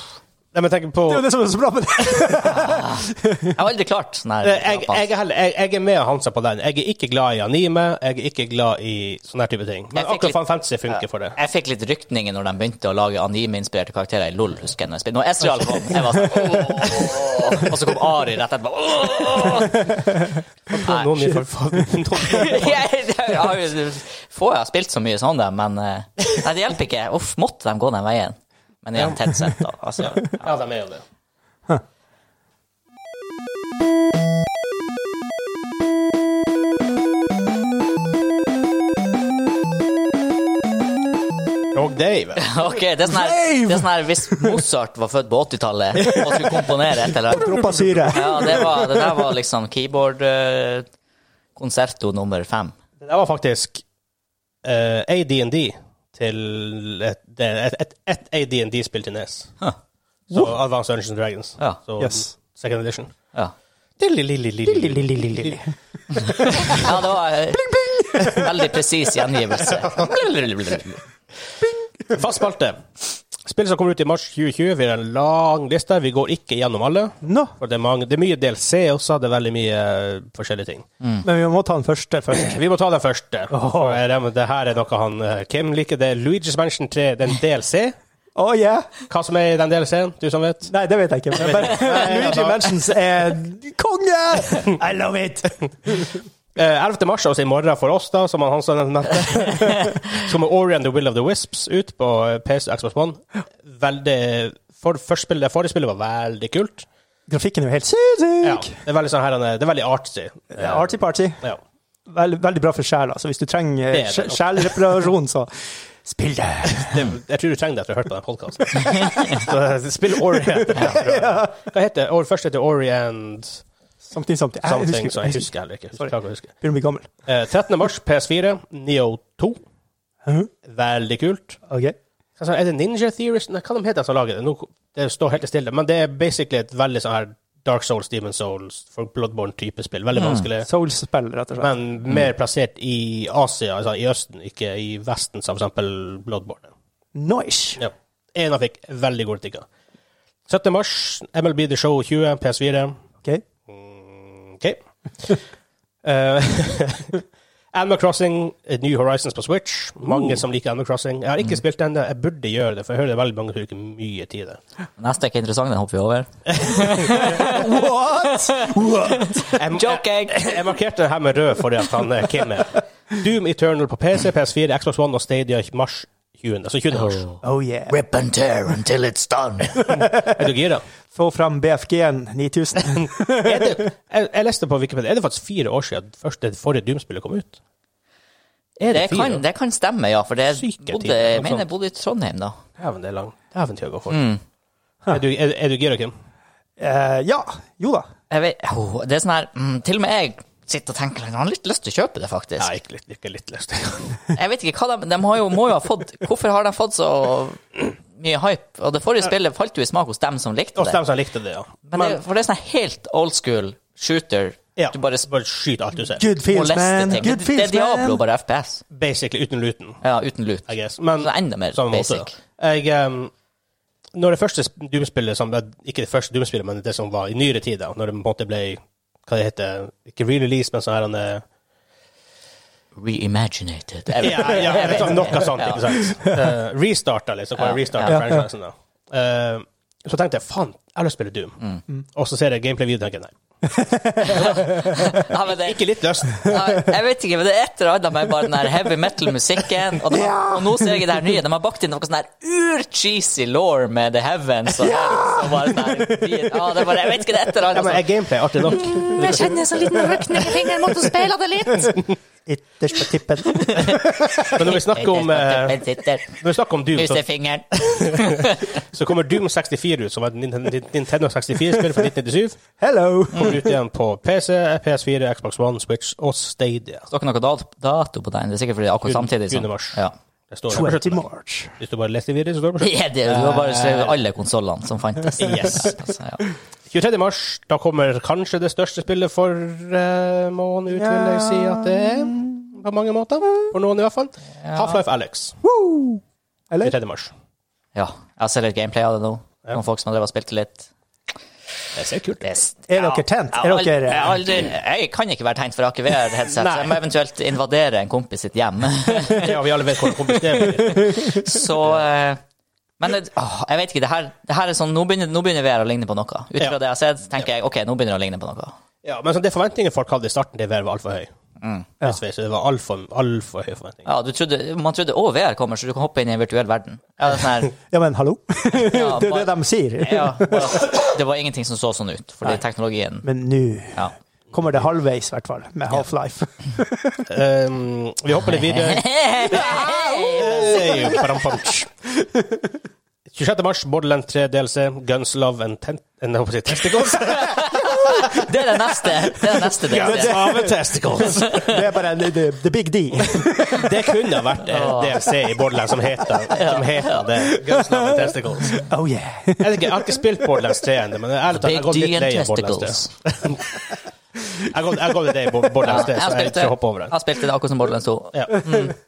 Speaker 2: Nei, men tenk på...
Speaker 3: Det er jo det som er så bra med det.
Speaker 4: Jeg har aldri klart sånn her.
Speaker 2: Eh, Jeg, jeg, er heller, jeg, jeg er med Hansa på den. Jeg er ikke glad i anime, jeg er ikke glad i sånne her type ting. Men
Speaker 4: Jeg fikk
Speaker 2: akkurat
Speaker 4: litt-
Speaker 2: Final Fantasy funker for det.
Speaker 4: Jeg fikk litt rykninger når de begynte å lage anime-inspirerte karakterer i LOL, husker jeg. Når jeg spilte. Når Ezreal kom, jeg var sånn «Åh!» Og så kom Ari rett etterpå. «Åh!»
Speaker 2: Noen mye for- noen-
Speaker 4: Jeg, jeg har jo Få jeg har spilt så mye sånn, da, men eh, Nei, det hjelper ikke. Uff, måtte de gå den veien? Men igjen, tett sett, da. Altså,
Speaker 2: Ja, de er jo det. Og Dave.
Speaker 4: OK, det er sånn her, det er sånn her hvis Mozart var født på 80-tallet og skulle komponere et eller annet
Speaker 3: Droppa syre.
Speaker 4: Ja, det, var, det der var liksom keyboard-konserto nummer fem.
Speaker 2: Det der var faktisk eh, AD&D til et, det er et, et, et AD&D-spill til NES.
Speaker 4: Huh.
Speaker 2: Så Advanced Dungeons and Dragons.
Speaker 4: Ja.
Speaker 2: Så
Speaker 3: Yes.
Speaker 2: second edition.
Speaker 4: Ja.
Speaker 2: Lillelillelille.
Speaker 3: Lillelillelille.
Speaker 4: Ja, det var eh, Veldig presis gjengivelse.
Speaker 2: Fast spalte. Spill som kommer ut i mars 2020. Vi har en lang liste. Vi går ikke gjennom alle.
Speaker 3: Nå!
Speaker 2: For det er, mange, det er mye DLC også. Det er veldig mye eh, forskjellige ting.
Speaker 3: Men vi må ta den første først.
Speaker 2: Vi må ta den første. For jeg regner med Det her er noe han eh, Kim liker. Det er Luigi's Mansion 3, den DLC.
Speaker 3: Å ja!
Speaker 2: Hva som er i den DLC-en, du som vet?
Speaker 3: Nei, det vet jeg ikke. Men bare, Luigi
Speaker 2: da-
Speaker 3: Mansions er konge! I love it!
Speaker 2: Eh, 11. mars, altså i morgen for oss, da, som han Hansa nevnte, så kommer Ori and the Will of the Wisps ut på eh, PS og Xbox One. Veldig for, Førstespillet, det forrige spillet var veldig kult.
Speaker 3: Grafikken er jo helt
Speaker 2: Ja,
Speaker 3: sinnssyk!
Speaker 2: det er veldig sånn her, han er- det er veldig artsy.
Speaker 3: Ja. Arty-party.
Speaker 2: Ja.
Speaker 3: Veldig, veldig bra for sjela. Så hvis du trenger
Speaker 2: Det er det.
Speaker 3: sj- sjelreparasjon, så spill det!
Speaker 2: Det, jeg tror du trenger det etter å ha hørt på den podkasten. eh, Spill Ori. Hva heter Ori, Først heter Ori and
Speaker 3: Samtidig, samtidig. Jeg
Speaker 2: something,
Speaker 3: husker,
Speaker 2: så jeg husker heller ikke.
Speaker 3: Sorry.
Speaker 2: Klarer ikke å huske.
Speaker 3: begynner å bli gammel.
Speaker 2: Eh, 13. mars, PS4, Neo 2.
Speaker 3: Mhm.
Speaker 2: Veldig kult.
Speaker 3: Ok.
Speaker 2: Altså, er det Ninja Theorist? Nei, hva de heter de som lager det? Nå, det står helt stille, men det er basically et veldig sånn her Dark Souls, Demon Souls, for Bloodborne-type spill. Veldig vanskelig.
Speaker 3: Souls-spill, rett og slett.
Speaker 2: Men mer plassert i Asia, altså i Østen, ikke i Vesten, som for eksempel Bloodborne.
Speaker 3: Noish!
Speaker 2: Ja. En av fikk veldig gode kritikker. 17. mars, MLB The Show 20, PS4.
Speaker 3: Ok.
Speaker 2: Mm, OK. Eh, Animal Crossing, eh, New Horizons på Switch. Mange som liker Animal Crossing. Jeg har ikke spilt det ennå. Jeg burde gjøre det, for jeg hører det er veldig mange som bruker mye tid i det.
Speaker 4: Neste er ikke interessant, den hopper vi over.
Speaker 3: What?!
Speaker 2: Jeg, jeg, jeg markerte det her med rød fordi at han eh, Kim er Doom Eternal på PC, PS4, Xbox One og Stadia i mars 20. Altså 20. mars.
Speaker 3: Oh yeah.
Speaker 4: Eh, Rip and tear until it's done.
Speaker 2: Er du gira?
Speaker 3: Få fram BFG-en 9000.
Speaker 2: Er det, jeg, jeg leste på Wikipedia, er det faktisk fire år siden først det forrige Doom-spillet kom ut? Er
Speaker 4: Det
Speaker 2: fire?
Speaker 4: kan, det kan stemme, ja. For det
Speaker 2: Syke
Speaker 4: bodde,
Speaker 2: tider,
Speaker 4: jeg
Speaker 2: noe
Speaker 4: mener
Speaker 2: sånt.
Speaker 4: jeg bodde i Trondheim da.
Speaker 2: Dæven, det er lang. Dæven tida går fort.
Speaker 4: Mm.
Speaker 2: Er du, er, er du gira, Kim?
Speaker 3: Eh, ja. Jo da.
Speaker 4: Jeg vet, oh, det er sånn her, mm, til og med jeg sitter og tenker, jeg har litt lyst til å kjøpe det faktisk.
Speaker 2: Nei, ikke litt, ikke litt lyst.
Speaker 4: Jeg vet ikke hva de, de har jo, må jo ha fått Hvorfor har de fått så mye hype? Og det forrige spillet falt jo i smak hos dem som likte
Speaker 2: Også
Speaker 4: det.
Speaker 2: dem som likte det, ja.
Speaker 4: Men det, for det er sånn helt old school shooter.
Speaker 2: ja.
Speaker 4: Du bare
Speaker 2: bare skyt alt du ser.
Speaker 3: Good feels,
Speaker 4: molester
Speaker 3: man!
Speaker 4: ting.
Speaker 3: Good
Speaker 4: Det, det er
Speaker 3: feels,
Speaker 4: Diablo,
Speaker 3: man!
Speaker 4: bare FPS.
Speaker 2: Basically uten luten.
Speaker 4: Ja, uten lut.
Speaker 2: I guess. Men
Speaker 4: Så enda mer
Speaker 2: samme måte,
Speaker 4: basic.
Speaker 2: da. Jeg, ehm, når det første sp- Doom-spillet som Ikke det første Doom-spillet, men det som var i nyere tid, da, når det på en måte ble Hva det heter Ikke re-release, men sånn her han, eh,
Speaker 4: Reimaginated.
Speaker 2: ja, ja, jeg vet, ikke, Noe sånt, ikke sant? Eh, restarta, liksom. Kan jeg restarte
Speaker 3: Ja.
Speaker 2: franchisen, da? Eh, så tenkte jeg faen, jeg har lyst til å spille Doom. Og så ser jeg gameplay-video og tenker nei.
Speaker 4: Ja, men det,
Speaker 2: Ikke litt lyst.
Speaker 4: ja, jeg vet ikke, men det er et eller annet med bare den der heavy metal-musikken. Og, de, og nå ser jeg det her nye. De har bakt inn noe sånn her ur-cheesy law med The Heavens. Og, og bare sånn her, ja, det er bare, jeg vet ikke, det er et eller
Speaker 2: Ja,
Speaker 4: annet.
Speaker 2: men
Speaker 4: sånn.
Speaker 2: jeg gameplay artig nok.
Speaker 5: Jeg kjenner en sånn liten røkning i fingeren, måtte spille det litt.
Speaker 3: Ytterst på tippen.
Speaker 2: Men når vi
Speaker 4: sånn-
Speaker 2: snakker om, eh,
Speaker 4: Men sitter,
Speaker 2: når vi snakker om Doom, så
Speaker 4: knuser fingeren.
Speaker 2: Så kommer Doom 64 ut, som var et Ninten- Nintendo 64-spill fra 1997.
Speaker 3: Hello!
Speaker 2: Kommer ut igjen på PC, PS4, Xbox One, Switch og Stadia.
Speaker 4: Står ikke noe dat- dato på den? Det er sikkert fordi det er akkurat samtidig. som-
Speaker 2: Juni- mars.
Speaker 4: Ja.
Speaker 2: Det står der på
Speaker 3: 20
Speaker 2: slutten.
Speaker 3: March.
Speaker 2: Hvis du bare leser videre, så står det på slutten.
Speaker 4: Ja, det er jo bare
Speaker 3: Eh,
Speaker 4: skrevet alle konsollene som fantes.
Speaker 2: Yes.
Speaker 4: Altså, ja.
Speaker 2: 23. mars, da kommer kanskje det største spillet for eh, måned ut, vil jeg si at det er. På mange måter. For noen i hvert fall. Half-Life Alex.
Speaker 3: Woo! Eller?
Speaker 2: 23. mars.
Speaker 4: ja. Jeg ser litt gameplay av det nå. Noen folk som har drevet og spilt det litt.
Speaker 2: Det ser kult ut.
Speaker 4: Det s-
Speaker 3: Er dere tent? Er
Speaker 4: Jeg,
Speaker 3: dere
Speaker 4: har aldri, jeg, har aldri, jeg kan ikke være tegn for jeg har ikke VR-headset, så jeg må eventuelt invadere en kompis sitt hjem.
Speaker 2: Ja, vi alle vet hvordan kompis det blir.
Speaker 4: Så eh, Men det, åh, jeg vet ikke. Det her, det her er sånn, nå begynner, nå begynner VR å ligne på noe. Ut fra
Speaker 2: Ja.
Speaker 4: det jeg har sett, tenker jeg OK, nå begynner det å ligne på noe.
Speaker 2: Ja, men sånn, det forventningen folk hadde i starten, det var altfor høy. Dessverre, Så det var altfor alt for høye forventninger.
Speaker 4: Ja, du trodde, Man trodde å, VR kommer, så du kan hoppe inn i en virtuell verden. Ja, det er sånn her
Speaker 3: Ja, men hallo?
Speaker 4: Ja,
Speaker 3: Det er
Speaker 4: bare-
Speaker 3: det de sier.
Speaker 4: Ja, det var ingenting som så sånn ut, fordi teknologien
Speaker 3: Men nå
Speaker 4: ja.
Speaker 3: kommer det halvveis, i hvert fall, med Half-Life.
Speaker 2: Um, vi hopper litt videre. Hey, param, pam, tsch. 26. mars, Borderland 3 DLC, Guns, Love and Tent... eh, Nei, hva sier jeg? Testicles?
Speaker 4: Det er det neste. Det er det neste DLC.
Speaker 2: Love and Testicles.
Speaker 3: Det er bare eh, the, the, the big D.
Speaker 2: Det kunne ha vært eh, en DLC i Borderland som heter, som heter det. Guns, Love and Testicles.
Speaker 3: Oh yeah.
Speaker 2: Jeg, vet ikke, jeg har ikke spilt Borderlands 3 ennå, men ærlig talt, jeg
Speaker 4: Big
Speaker 2: har gått
Speaker 4: D
Speaker 2: litt
Speaker 4: and
Speaker 2: lei av Borderlands 3.
Speaker 4: testicles.
Speaker 2: Jeg ga- Jeg ga det til Bo- Borderlands 3, så jeg ikke hopper over den.
Speaker 4: jeg spilte det Altså, mm. akkurat som Borderlands 2.
Speaker 2: Ja.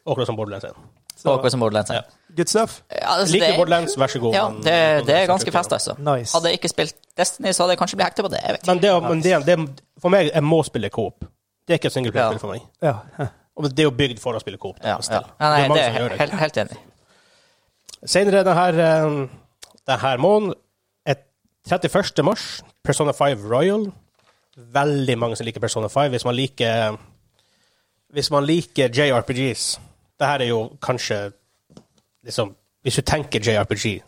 Speaker 2: Akkurat som Borderlands 1.
Speaker 4: Og akkurat som Borderlands 1.
Speaker 2: Ja.
Speaker 3: Good stuff.
Speaker 4: Ja, altså,
Speaker 2: Liker
Speaker 4: det-
Speaker 2: Borderlands, vær så god.
Speaker 4: Ja,
Speaker 2: men-
Speaker 4: det, det er ganske fest, altså.
Speaker 3: Nice.
Speaker 4: Hadde jeg ikke spilt Destiny, så hadde jeg kanskje blitt hekta på det. Jeg vet ikke.
Speaker 2: Men, det, men det, det, for meg, jeg må spille coop. Det er ikke et singleplayer-spill
Speaker 4: Ja.
Speaker 2: for meg.
Speaker 3: Ja.
Speaker 2: Og det er jo bygd for å spille coop.
Speaker 4: Ja,
Speaker 2: Da,
Speaker 4: ja.
Speaker 2: still.
Speaker 4: Ja,
Speaker 2: det
Speaker 4: nei,
Speaker 2: er mange
Speaker 4: det er
Speaker 2: som gjør
Speaker 4: jeg
Speaker 2: det.
Speaker 4: helt, helt enig i.
Speaker 2: Senere denne, eh, denne måneden, et 31. mars, Persona 5 Royal. Veldig mange som liker Persona 5. Hvis man liker, eh, hvis man liker JRPGs Dette er jo kanskje liksom, Hvis du tenker JRPG,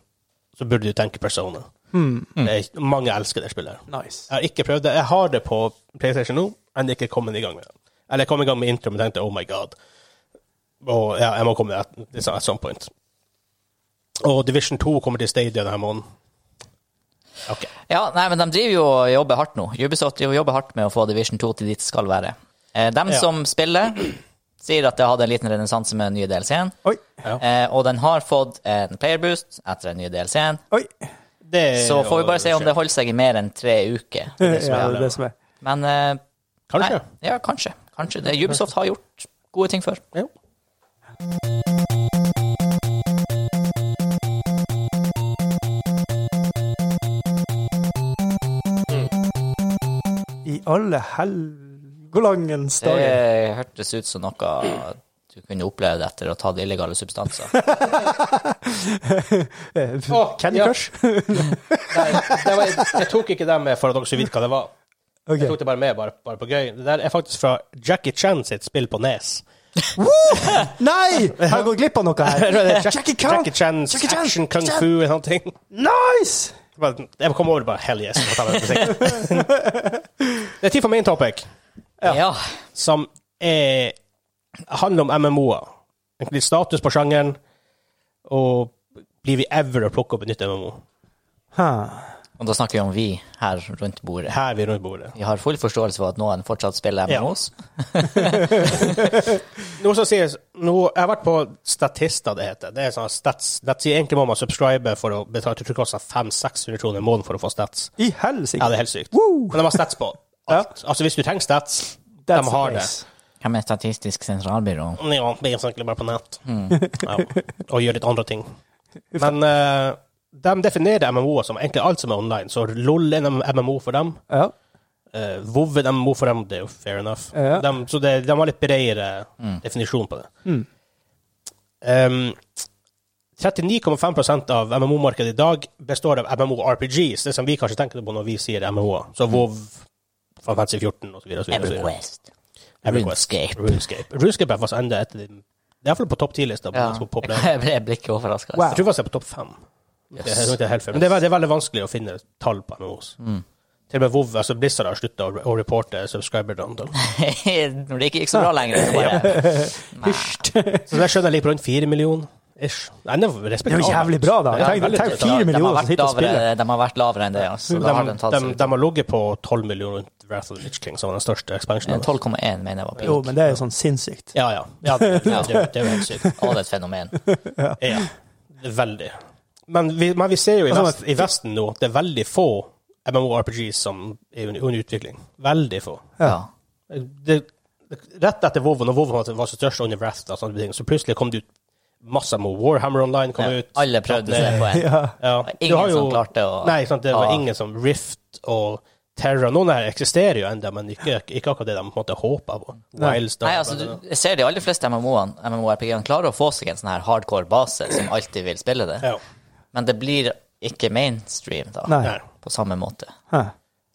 Speaker 2: så burde du tenke Persona. Det er, mange elsker det spillet. her.
Speaker 3: Nice.
Speaker 2: Jeg har ikke prøvd det. Jeg har det på PlayStation nå, men jeg er ikke kommet i gang med det. Eller jeg kom i gang med intro, men tenkte oh my god. Og ja, jeg må komme at, liksom, at some point. Og Division 2 kommer til Stadia denne måneden. OK.
Speaker 4: Ja, nei, men de driver jo og jobber hardt nå. Ubisoft driver og jobber hardt med å få Division 2 til dit det skal være. Eh, dem
Speaker 2: Ja.
Speaker 4: som spiller, sier at det hadde en liten renessanse med den nye DLC-en.
Speaker 3: Oi.
Speaker 2: Ja.
Speaker 4: Eh, og den har fått en player boost etter den nye DLC-en.
Speaker 3: Oi.
Speaker 2: Det er
Speaker 4: Så får
Speaker 2: jo
Speaker 4: vi bare se om det holder seg i mer enn tre uker.
Speaker 3: Ja,
Speaker 2: det som er
Speaker 3: det er
Speaker 2: det.
Speaker 3: det som er.
Speaker 4: Men eh,
Speaker 2: Kanskje.
Speaker 4: Nei, ja, kanskje. kanskje. Det, Ubisoft har gjort gode ting før.
Speaker 2: Ja.
Speaker 3: I alle helgolangens
Speaker 4: Det
Speaker 3: dager.
Speaker 4: hørtes ut som noe du kunne opplevd etter å ha tatt illegale substanser.
Speaker 3: Eh,
Speaker 2: Å,
Speaker 3: Candy
Speaker 2: ja.
Speaker 3: Crush?
Speaker 2: Nei, det var, jeg tok ikke det med for at dere skulle vite hva det var. Jeg
Speaker 3: Ok.
Speaker 2: tok det bare med bare, bare på gøy. Det der er faktisk fra Jackie Chan sitt spill på E Nes.
Speaker 3: Nei! Jeg har gått glipp av noe her. Jackie Chan.
Speaker 2: Jackie Chans
Speaker 3: Jackie Chan.
Speaker 2: action kung fu og sånne ting.
Speaker 3: Nice!
Speaker 2: Bare- Jeg kom over og bare Hell yes. jeg må ta med den musikken. det er tid for main topic,
Speaker 4: Ja.
Speaker 2: som er, handler om MMO-er. Litt status på sjangeren, og blir vi ever å plukke opp et nytt MMO?
Speaker 3: Huh.
Speaker 4: Og da snakker vi om vi her rundt bordet.
Speaker 2: Her vi er rundt bordet.
Speaker 4: Vi har full forståelse for at noen fortsatt spiller
Speaker 2: Ja.
Speaker 4: MMOs.
Speaker 2: Noe som sies, noe, jeg har vært på Statista, det heter. Det er sånn stats, that's, egentlig må man subscribe for å betale jeg tror det koster 500-600 kroner i måneden for å få stats.
Speaker 3: I
Speaker 2: Ja,
Speaker 3: helsike.
Speaker 2: det er helt sykt.
Speaker 3: Woo!
Speaker 2: Men de har stats på alt. Altså, hvis du trenger stats,
Speaker 3: That's
Speaker 2: de har
Speaker 3: the
Speaker 2: det.
Speaker 3: place.
Speaker 4: Hvem er Statistisk sentralbyrå?
Speaker 2: Ja, vi er egentlig bare på nett. Ja, og gjør litt andre ting. Men eh, de definerer MMO-er som egentlig alt som er online, så LOL er en MMO for dem.
Speaker 3: Ja.
Speaker 2: Uh, WoW er en MMO for dem, det er jo fair enough.
Speaker 3: Ja.
Speaker 2: De, så det, de har litt bredere
Speaker 4: Mm.
Speaker 2: definisjon på det.
Speaker 3: Mm.
Speaker 2: Um, 39,5 av MMO-markedet i dag består av MMO-RPGs, det som vi kanskje tenker på når vi sier MMO-er. Så WoW, Final Fantasy 14 og så videre, og så videre, og så videre.
Speaker 4: EverQuest.
Speaker 2: Everquest.
Speaker 4: RuneScape.
Speaker 2: RuneScape. RuneScape er faktisk enda etter den I hvert fall på topp 10-lista. på
Speaker 4: Ja.
Speaker 2: den som er populær.
Speaker 4: Jeg ble- jeg ble ikke overraska.
Speaker 3: Wow.
Speaker 2: Jeg tror faktisk jeg er på topp 5. Det er,
Speaker 4: Yes.
Speaker 2: det er helt fair. Men det er, veldig, det er veldig vanskelig å finne tall på MMOs.
Speaker 4: Mm.
Speaker 2: Til og med WoW, altså Blizzard har slutta å, å reporte subscriber downtown.
Speaker 4: Når det ikke gikk så bra lenger. så Bare,
Speaker 2: Så det skjønner jeg ligger på rundt 4 millioner. Ish. Nei, det er
Speaker 3: Det er jo jævlig bra, da.
Speaker 2: Ja,
Speaker 3: Tenk,
Speaker 2: veldig
Speaker 3: tenk
Speaker 2: bra.
Speaker 3: fire
Speaker 4: de, har
Speaker 3: millioner som
Speaker 4: vært
Speaker 3: sitter og spiller.
Speaker 4: lavere, de har vært lavere enn det. ja. Så da har
Speaker 2: De,
Speaker 4: de tatt
Speaker 2: de,
Speaker 4: seg ut.
Speaker 2: de har ligget på 12 millioner rundt Wrath of the Lich King, som var den største expansionen.
Speaker 4: 12,1 mener jeg var
Speaker 3: Jo,
Speaker 4: peak.
Speaker 3: men det er jo sånn sinnssykt.
Speaker 2: Ja, ja. ja det, det, det, det er jo helt sykt.
Speaker 4: Å, det er et fenomen.
Speaker 2: Ja, veldig. Men vi, men vi ser jo i,
Speaker 3: Altså,
Speaker 2: vest, i Vesten nå at det er veldig få MMORPGs som er under, under utvikling. Veldig få.
Speaker 4: Ja.
Speaker 2: Det, det, rett etter WoW, når WoW var så størst under Wrath, da, sånne ting, så plutselig kom det ut masse med Warhammer Online kom ut.
Speaker 4: Alle prøvde seg på en.
Speaker 3: Ja.
Speaker 2: Ja.
Speaker 4: Ingen
Speaker 2: Du har jo-
Speaker 4: som klarte å-
Speaker 2: Nei, ikke sant? det var
Speaker 4: Ja.
Speaker 2: ingen som Rift og Terra. Noen her eksisterer jo ennå, men ikke, ikke akkurat det de på en måte håper på. Wildstar.
Speaker 4: Nei, altså, du, jeg ser de aller fleste MMO-ene, MMORPG-ene klarer å få seg en sånn her hardcore base som alltid vil spille det,
Speaker 2: ja.
Speaker 4: men det blir ikke mainstream da,
Speaker 3: Nei.
Speaker 2: Nei.
Speaker 4: på samme måte.
Speaker 3: Huh.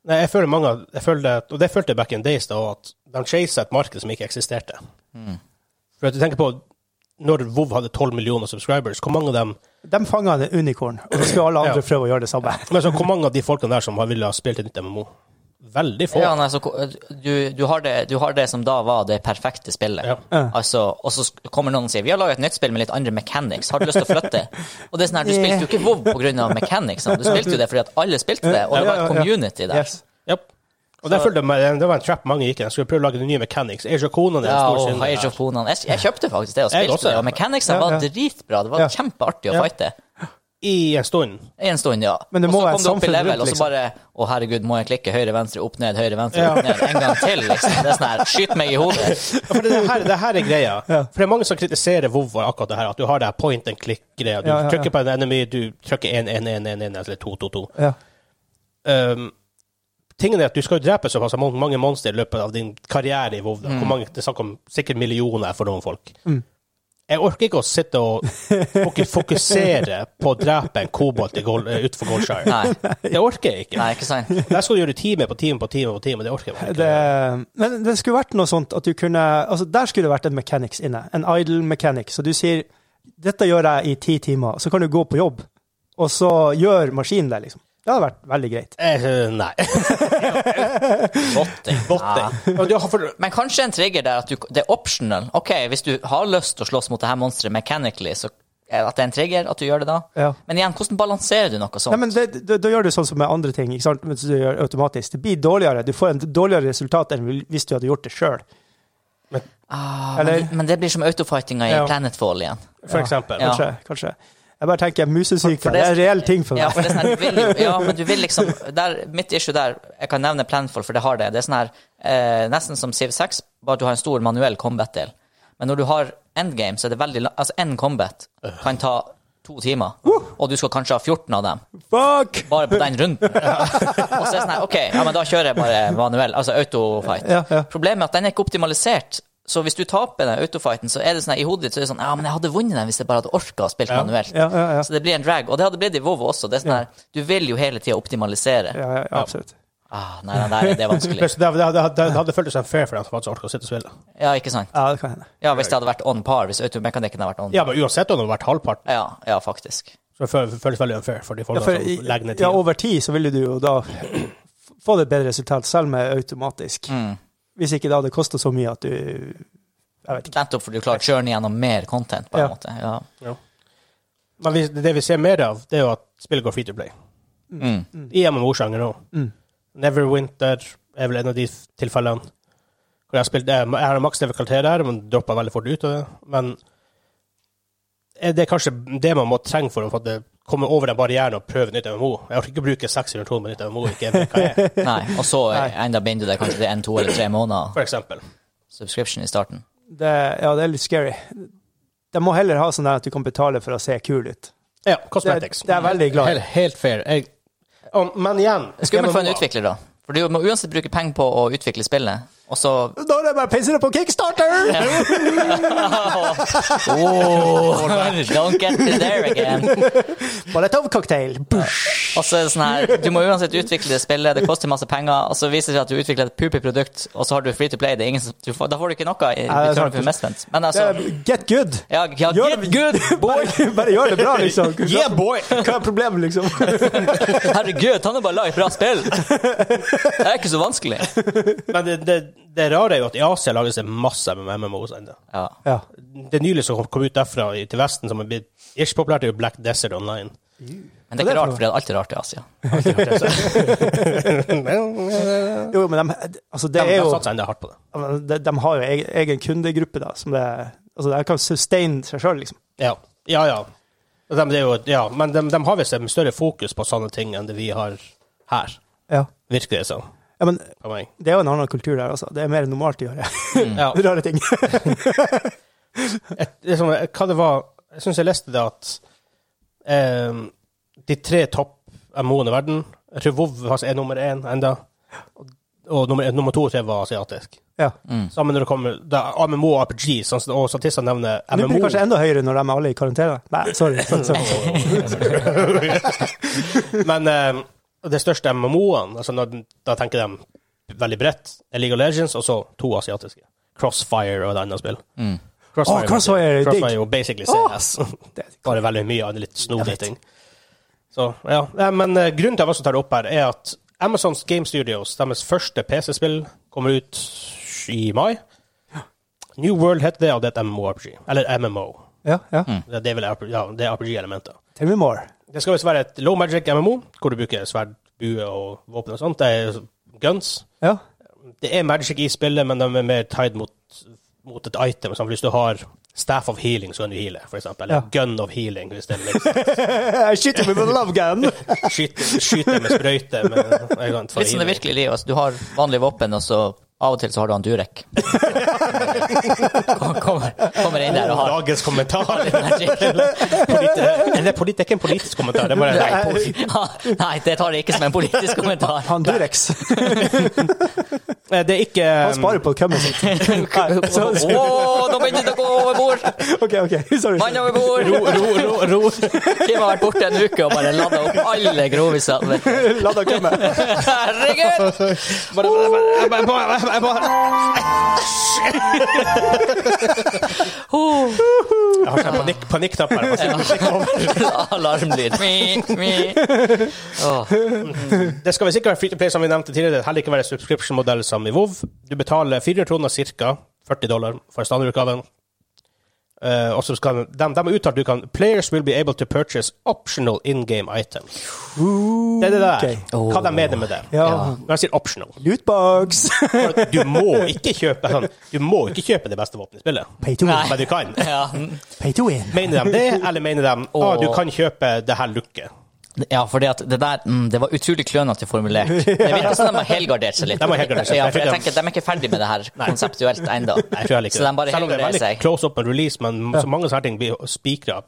Speaker 2: Nei, jeg føler mange av- jeg føler det, Og det følte jeg back in days, da, også, at de chasa et marked som ikke eksisterte.
Speaker 4: Mm.
Speaker 2: For at du tenker på når WoW hadde 12 millioner subscribers, hvor mange av dem
Speaker 3: De fanga en unicorn, og så skulle alle andre
Speaker 2: Ja.
Speaker 3: prøve å gjøre det samme.
Speaker 2: men så, hvor mange av de folkene der som har ville ha spilt et nytt MMO? Veldig få.
Speaker 4: Ja, nei, så, ko- du, du, har det, du har det som da var det perfekte spillet.
Speaker 2: Ja.
Speaker 4: Altså, og så sk- kommer noen og sier vi har laget et nytt spill med litt andre mechanics, har du lyst til å flytte? Og det er sånn her, du spilte jo ikke WoW på grunn av mechanicsene, du spilte jo det fordi at alle spilte det, og det var
Speaker 3: Ja, ja,
Speaker 4: et
Speaker 3: ja.
Speaker 4: community der.
Speaker 3: Yes.
Speaker 2: Japp. Og der følte jeg, Det var en trap mange gikk i. De skulle prøve å lage nye mechanics. Age of Conan er en
Speaker 4: Ja,
Speaker 2: stor
Speaker 4: og
Speaker 2: synder her.
Speaker 4: Age of Conan. Jeg, jeg kjøpte faktisk det og
Speaker 2: Jeg
Speaker 4: spilte
Speaker 2: også,
Speaker 4: det,
Speaker 2: ja.
Speaker 4: og mechanicsene
Speaker 3: Ja, ja.
Speaker 4: var dritbra, det
Speaker 3: Ja.
Speaker 4: var kjempeartig å
Speaker 3: Ja.
Speaker 4: fighte.
Speaker 2: i en stund.
Speaker 4: En stund, ja.
Speaker 3: Men det må
Speaker 4: og så
Speaker 3: være liksom.
Speaker 4: kom du opp i
Speaker 3: samfunn
Speaker 4: level,
Speaker 3: rundt,
Speaker 4: og så bare Å, herregud, må jeg klikke høyre, venstre, opp, ned, høyre, venstre, opp, ned? En gang til, liksom. Det er sånn her Skyt meg i hodet.
Speaker 2: Ja, for det her, det her er greia. For det er mange som kritiserer WoW for akkurat det her, at du har det her point and click-greia. Du
Speaker 3: Ja, ja, ja.
Speaker 2: trykker på en enemy, du trykker 1, 1, 1, 1, 1 eller 2, 2, 2.
Speaker 3: Ja.
Speaker 2: Um, tingen er at du skal jo drepe såpass mon- mange monstre i løpet av din karriere i WoW. da.
Speaker 3: Mm.
Speaker 2: Hvor mange, det er snakk om sikkert millioner for noen folk. Jeg orker ikke å sitte og fok- fokusere på å drepe en kobolt i Gol- eh, utenfor Goldshire.
Speaker 4: Nei,
Speaker 2: Det orker jeg ikke.
Speaker 4: nei, ikke sant?
Speaker 2: Der skal du gjøre time på time på time, på time, og det orker jeg bare ikke.
Speaker 3: Det, men det skulle vært noe sånt at du kunne altså Der skulle det vært en mechanics inne. En idle mechanic. Så du sier 'dette gjør jeg i ti timer', så kan du gå på jobb, og så gjør maskinen det, liksom. Det hadde vært veldig greit.
Speaker 2: Eh, nei.
Speaker 4: Botting.
Speaker 2: Botting. Og du har for-
Speaker 4: Men kanskje en trigger der at du, det er optional. Ok, Hvis du har lyst til å slåss mot det her monsteret mechanically, så er det at det er en trigger at du gjør det da.
Speaker 3: Ja.
Speaker 4: Men igjen, hvordan balanserer du noe sånt?
Speaker 3: Nei, men det, det, Da gjør du sånn som med andre ting, ikke sant? Mens du gjør automatisk. Det blir dårligere. Du får en dårligere resultat enn hvis du hadde gjort det sjøl.
Speaker 4: ah,
Speaker 3: eller-
Speaker 4: men, men det blir som autofightinga i
Speaker 3: Ja.
Speaker 4: Planetfall igjen.
Speaker 2: For eksempel.
Speaker 4: Ja.
Speaker 3: Kanskje. kanskje. Jeg bare tenker
Speaker 4: For
Speaker 3: musesyke.
Speaker 4: det-
Speaker 3: Det er en reell ting for
Speaker 4: Ja, for
Speaker 3: meg.
Speaker 4: det er sånn, her, du vil, jo- ja, men du vil liksom der, Mitt issue der, jeg kan nevne Planfall, for det har det. Det er sånn her, eh, nesten som Civ 6, bare at du har en stor manuell combat-del. Men når du har endgame, så er det veldig la- Altså, én combat kan ta to timer, og du skal kanskje ha 14 av dem.
Speaker 3: Fuck!
Speaker 4: Bare på den runden. Og så er det sånn her, OK, ja, men da kjører jeg bare manuell, altså autofight.
Speaker 3: Ja, ja.
Speaker 4: Problemet er at den er ikke optimalisert. Så hvis du taper den autofighten, så er det sånn her, i hodet ditt så er det sånn Ja, men jeg hadde vunnet den hvis jeg bare hadde orka å spille manuelt.
Speaker 3: Ja, ja, ja.
Speaker 4: Så det blir en drag. Og det hadde blitt i WoW også. Det er sånn her, du vil jo hele tida optimalisere.
Speaker 3: Ja, ja, absolutt.
Speaker 4: Ah, nei, nei, nei, det er vanskelig.
Speaker 2: Pluss, det, det, det, det hadde føltes som fair for dem som faktisk orker å sitte og spille.
Speaker 4: Ja, ikke sant?
Speaker 3: Ja, det kan hende.
Speaker 4: Ja, hvis det hadde vært on par. Hvis automekanikken hadde vært on par.
Speaker 2: Ja, men uansett om det hadde vært halvparten,
Speaker 4: Ja, ja, faktisk.
Speaker 2: så det føles føles veldig unfair for de
Speaker 3: Ja,
Speaker 2: folkene
Speaker 3: for,
Speaker 2: som legger ned tida.
Speaker 3: ja, over tid så ville du jo da få et bedre resultat, selv med automatisk.
Speaker 4: Mm.
Speaker 3: Hvis ikke det hadde kosta så mye at du Jeg vet ikke.
Speaker 4: Nettopp fordi du klarer å churne gjennom mer content, på en
Speaker 3: Ja.
Speaker 4: måte. Ja.
Speaker 2: Men vi, det vi ser mer av, det er jo at spillet går free to play.
Speaker 4: Mm.
Speaker 2: I MMO-sjangeren òg.
Speaker 3: Mm.
Speaker 2: Neverwinter er vel en av de tilfellene hvor jeg har spilt Jeg jeg har maks difficultet der, men droppa veldig fort ut av det. Men er det er kanskje det man må trenge for å få det- komme over den barrieren og prøve nytt MMO. Jeg orker ikke å bruke 600 kroner på nytt MMO, ikke vet hva jeg er,
Speaker 4: Nei, og så enda binder du deg kanskje til en, to eller tre måneder
Speaker 2: for eksempel.
Speaker 4: subscription i starten.
Speaker 3: Det, ja, det er litt scary. De må heller ha sånn der at du kan betale for å se kul ut.
Speaker 2: Ja,
Speaker 3: Det,
Speaker 2: cosmetics.
Speaker 3: det er jeg veldig glad. i.
Speaker 2: Helt, helt fair. Jeg, Om- men igjen
Speaker 4: Skummelt for en
Speaker 2: MMO
Speaker 4: utvikler, da. For du må uansett bruke penger på å utvikle spillet, og så
Speaker 3: Da er det bare å pisse det på kickstarter!
Speaker 4: oh, Don't get me there again.
Speaker 3: Molotov-cocktail.
Speaker 4: Og så er det sånn her, Du må uansett utvikle det spillet, det koster masse penger, og så viser det seg at du utvikler et poopy produkt, og så har du free to play. Det er ingen som, du får, da får du ikke noe i
Speaker 3: Nei, det er
Speaker 4: return
Speaker 3: sant.
Speaker 4: for investment. Men altså
Speaker 3: Eh, Get good.
Speaker 4: ja, ja,
Speaker 3: Gjør
Speaker 4: get
Speaker 3: det-
Speaker 4: good, boy!
Speaker 3: Bare, bare gjør det bra, liksom.
Speaker 2: Yeah, boy!
Speaker 3: Hva er problemet, liksom?
Speaker 4: Herregud, han har bare laget et bra spill! Det er ikke så vanskelig.
Speaker 2: Men det, det, det rare er jo at i Asia lages det masse med MMOs ennå.
Speaker 4: Ja.
Speaker 3: Ja.
Speaker 2: Det nylig som kom ut derfra i- til Vesten, som er blitt ikke populært, er jo Black Desert Online.
Speaker 4: Men det er ikke rart, for det er alltid rart i Asia.
Speaker 3: Jo, men de, altså,
Speaker 2: De
Speaker 3: det er
Speaker 2: har
Speaker 3: jo
Speaker 2: satsa enda hardt på det.
Speaker 3: de, de har jo egen, egen kundegruppe, da, som det Altså, de kan sustain seg sjøl, liksom.
Speaker 2: Ja, ja. ja. Og dem- det er jo, ja. Men de, de har visst et større fokus på sånne ting enn det vi har her.
Speaker 3: Ja.
Speaker 2: Virker det som.
Speaker 3: ja. Men
Speaker 2: For meg.
Speaker 3: det er jo en annen kultur der, altså. Det er mer normalt å gjøre
Speaker 2: Ja.
Speaker 3: rare ting.
Speaker 2: et, liksom, hva det var Jeg syns jeg leste det at eh, de tre topp MO-ene i verden Jeg tror WoW altså, er nummer én enda Og, og nummer, nummer to og tre var asiatisk.
Speaker 3: Ja.
Speaker 2: Sammen når det kommer da, MMO og RPG, sånn, som- og statister nevner
Speaker 3: Nå blir det
Speaker 2: MMO.
Speaker 3: kanskje enda høyere når de er alle i karantene. Nei, sorry. Sånn, sånn.
Speaker 2: Men eh, det største MMO-ene, altså, når- da tenker de veldig bredt, er League of Legends og så to asiatiske. Crossfire og et annet spill.
Speaker 3: Å, Crossfire er digg.
Speaker 2: Crossfire er jo basically CS. Bare veldig mye av det litt snodige ting. Så, ja. Nei, Men eh, grunnen til at jeg også tar det opp her, er at Amazons Game Studios, deres første PC-spill, kommer ut i mai. New World heter det, og det er et MMORPG. Eller MMO.
Speaker 3: Ja, ja.
Speaker 2: Det er vel RPG ja, det er RPG-elementer.
Speaker 3: Tell me more.
Speaker 2: Det skal visst være et low magic MMO, hvor du bruker sverd, bue og våpen og sånt. Det er guns.
Speaker 3: Ja.
Speaker 2: Det er magic i spillet, men de er mer tied mot, mot et item. Sånn, hvis du har Staff of healing, så kan du heale, for eksempel. Eller gun of healing, hvis det er liksom
Speaker 3: I shit you with a love gun!
Speaker 2: skyter, skyter med sprøyte. Men, jeg kan
Speaker 4: Litt
Speaker 2: ta
Speaker 4: som det
Speaker 2: healing.
Speaker 4: virkelige livet. Altså, du har vanlige våpen, og så av og til så har du han Durek. Kom- kommer, kommer inn der og har
Speaker 2: Dagens kommentar.
Speaker 4: magic.
Speaker 2: Politi- Eller politi- det er ikke en politisk kommentar. Det er bare nei, politi-
Speaker 4: Ja, Nei, det tar jeg ikke som en politisk kommentar.
Speaker 3: Han Durex.
Speaker 2: Eh, Det er ikke
Speaker 3: Han sparer på kømmen sitt. Nei,
Speaker 4: Å,
Speaker 3: så- så-
Speaker 4: nå begynte det å gå over bord!
Speaker 3: OK, OK. Sorry.
Speaker 4: Mann over bord!
Speaker 2: ro, um, ro, ro, ro.
Speaker 4: Kim har vært borte en uke og bare lada opp alle grovisene.
Speaker 3: La deg kømme.
Speaker 4: Herregud!
Speaker 2: Bare, bare, bare, bare, bare, bare, bare.
Speaker 4: Oh,
Speaker 2: Jeg har sånn panikk, panikktapper. Jeg bare sitter og kikker over.
Speaker 4: Alarmlyd. Mi, mi. Åh,
Speaker 2: Det skal visst ikke være free to play, som vi nevnte tidligere. Det skal heller ikke være subscription-modell som i WoW. Du betaler 400 kroner ca. 40 dollar for standardutgaven. Eh, og så skal de, de har uttalt du kan Players will be able to purchase optional in-game items. Det er det der.
Speaker 3: Ok.
Speaker 2: Hva de mener med det.
Speaker 3: Ja.
Speaker 2: Når jeg sier optional
Speaker 3: Lootbox.
Speaker 2: For at Du må ikke kjøpe sånn, Du må ikke kjøpe det beste våpenet i spillet.
Speaker 3: Pay to win.
Speaker 4: Nei.
Speaker 2: Men du kan.
Speaker 4: Ja.
Speaker 3: Pay to win.
Speaker 2: Mener de det, eller mener de at
Speaker 4: Åh.
Speaker 2: du kan kjøpe det her looket?
Speaker 4: ja, fordi at det der mm, Det var utrolig klønete formulert. Det virker som de har helgardert seg litt.
Speaker 2: De har helgardert seg.
Speaker 4: Ja, for jeg tenker De er ikke ferdig med det her konseptuelt ennå.
Speaker 2: Nei, jeg tror heller ikke
Speaker 4: Så de bare
Speaker 2: Selv om det er
Speaker 4: helgarderer
Speaker 2: veldig
Speaker 4: seg.
Speaker 2: close up and release, men så mange sånne ting blir spikra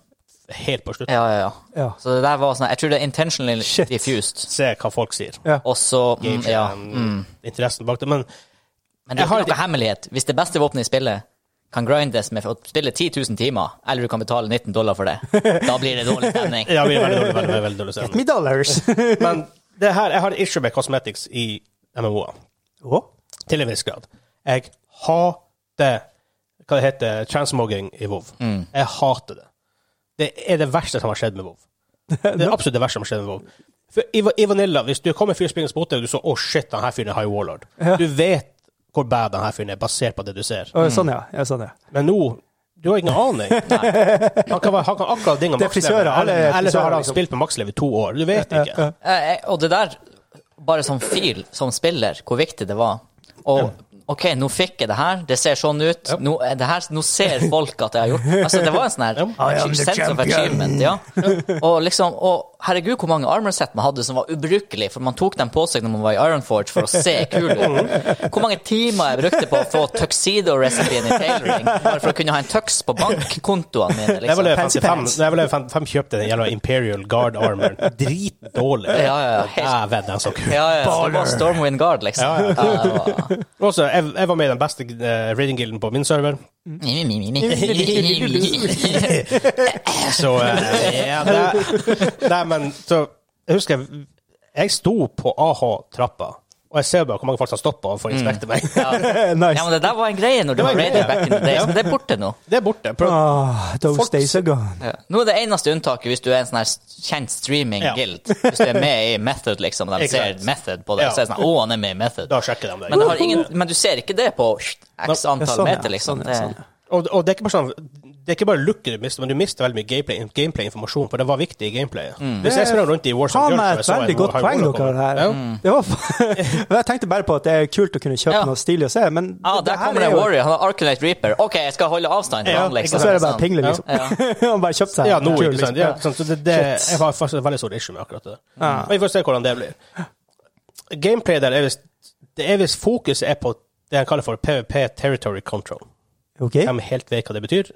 Speaker 2: helt på slutten.
Speaker 4: Ja, ja, ja.
Speaker 3: Ja.
Speaker 4: Så det der var sånn Jeg tror det er intentionally
Speaker 3: Shit.
Speaker 4: diffused.
Speaker 2: Se hva folk sier.
Speaker 4: Og så mm, Ja.
Speaker 2: Gameplay, Interessen bak det. Men
Speaker 4: Men det
Speaker 2: Jeg
Speaker 4: er
Speaker 2: har
Speaker 4: ikke noe hemmelighet. Hvis det beste våpenet i spillet kan grindes med å spille 10 000 timer, eller du kan betale 19 dollar for det, da blir det dårlig stemning.
Speaker 2: ja, vi er veldig dårlig, veldig, veldig dårlig stemning.
Speaker 3: Me dollars.
Speaker 2: Men det her, jeg har et issue med cosmetics i MMO-er.
Speaker 3: Å?
Speaker 2: Til en viss grad. Jeg hater hva det heter, transmogging i WoW.
Speaker 3: Mm.
Speaker 2: Jeg hater det. Det er det verste som har skjedd med WoW. Det er absolutt det verste som har skjedd med WoW. For i, Va- i Vanilla, hvis du kommer en fyr springende mot deg, og du så 'Å, shit, den her fyren er High Warlord', du vet hvor bad den her fyren er, basert på det du ser.
Speaker 3: Å, Sånn, ja. ja. Sånn, ja.
Speaker 2: Men nå du har ingen aning. Han kan, være- han kan akkurat dinga
Speaker 3: Det er frisører, alle er
Speaker 2: Eller, eller så har
Speaker 3: frisører,
Speaker 2: han
Speaker 3: liksom.
Speaker 2: spilt på makslev i to år. Du vet ikke.
Speaker 4: Eh, eh, Og det der, bare som fil, som spiller, hvor viktig det var. Og OK, nå fikk jeg det her, det ser sånn ut, nå, er det her, nå ser folk at jeg har gjort Altså, det var en sånn her
Speaker 3: I am the
Speaker 4: sense of achievement, ja. Og liksom, og herregud hvor mange armorsett man hadde som var ubrukelige, for man tok dem på seg når man var i Ironforge for å se kul ut. Hvor mange timer jeg brukte på å få tuxedo-recipien i tailoring, bare for å kunne ha en tux på bankkontoene mine,
Speaker 2: Jeg var
Speaker 4: liksom.
Speaker 2: level
Speaker 3: Fancy
Speaker 2: 55,
Speaker 3: pants.
Speaker 2: når jeg var level 55 kjøpte den jævla Imperial Guard Armor. Dritdårlig.
Speaker 4: Ja, ja, ja, helt-
Speaker 2: Dæven, den så kul
Speaker 4: Ja, ja, så det var Stormwind Guard, liksom. Ja, det var-
Speaker 2: Også, jeg, jeg var med i den beste uh, raiding-gilden på min server, så eh, ja, det, Nei, men så Jeg husker jeg, jeg sto på AH-trappa, og jeg ser bare hvor mange folk som stoppa for å inspekte meg.
Speaker 4: Mm. Ja,
Speaker 3: Nice.
Speaker 4: men det der var en greie når du
Speaker 2: Det var
Speaker 4: var
Speaker 2: en
Speaker 4: raider
Speaker 2: greie.
Speaker 4: back in the days, men det er borte nå.
Speaker 2: Det er borte. Prøv,
Speaker 3: Ah, those
Speaker 2: Folk-
Speaker 3: days are gone.
Speaker 4: Nå er det eneste unntaket hvis du er en sånn her kjent
Speaker 2: Ja.
Speaker 4: streaming-guild. Hvis du er med i Method, liksom, og de
Speaker 2: Ikke
Speaker 4: ser
Speaker 2: sant.
Speaker 4: Method på deg,
Speaker 2: Ja.
Speaker 4: så er det sånn Å, han er med i Method.
Speaker 2: da sjekker de deg.
Speaker 4: Men, det har ingen, men du ser ikke det på x
Speaker 2: Nå,
Speaker 4: antall
Speaker 3: sånn, ja,
Speaker 4: meter, liksom.
Speaker 3: sånn,
Speaker 4: Det,
Speaker 3: ja, sånn, ja.
Speaker 2: Og, og det er ikke bare sånn det er ikke bare looket du mister, men du mister veldig mye gameplay- gameplay-informasjon, for det var viktig i gameplayet.
Speaker 4: Mm.
Speaker 2: Hvis jeg sprang rundt i Warzone
Speaker 3: Faen
Speaker 2: Girls, og jeg
Speaker 3: meg et
Speaker 2: så en
Speaker 3: veldig godt
Speaker 2: High
Speaker 3: poeng
Speaker 2: Warlock
Speaker 3: dere har
Speaker 2: komme-
Speaker 3: her. Det var fa- jeg tenkte bare på at det er kult å kunne kjøpe
Speaker 4: Ja.
Speaker 3: noe stilig å se, men
Speaker 4: ah, der kommer en warrior, han har Arcanite Reaper. OK, jeg skal holde avstand til
Speaker 2: Ja,
Speaker 4: han,
Speaker 3: Og
Speaker 4: liksom.
Speaker 3: så er det bare
Speaker 4: Sånn.
Speaker 3: pingle, liksom. Han bare kjøpte seg
Speaker 2: Ja,
Speaker 3: en
Speaker 2: nå,
Speaker 3: kul,
Speaker 2: ikke sant?
Speaker 3: liksom.
Speaker 2: Ja, ikke sant? Så det, det, jeg har faktisk et veldig stort issue med akkurat det. Men vi får se hvordan det blir. Gameplay der er visst Det er visst fokuset er på det han kaller for PVP Territory Control.
Speaker 3: Ok.
Speaker 2: De er helt vet hva det betyr.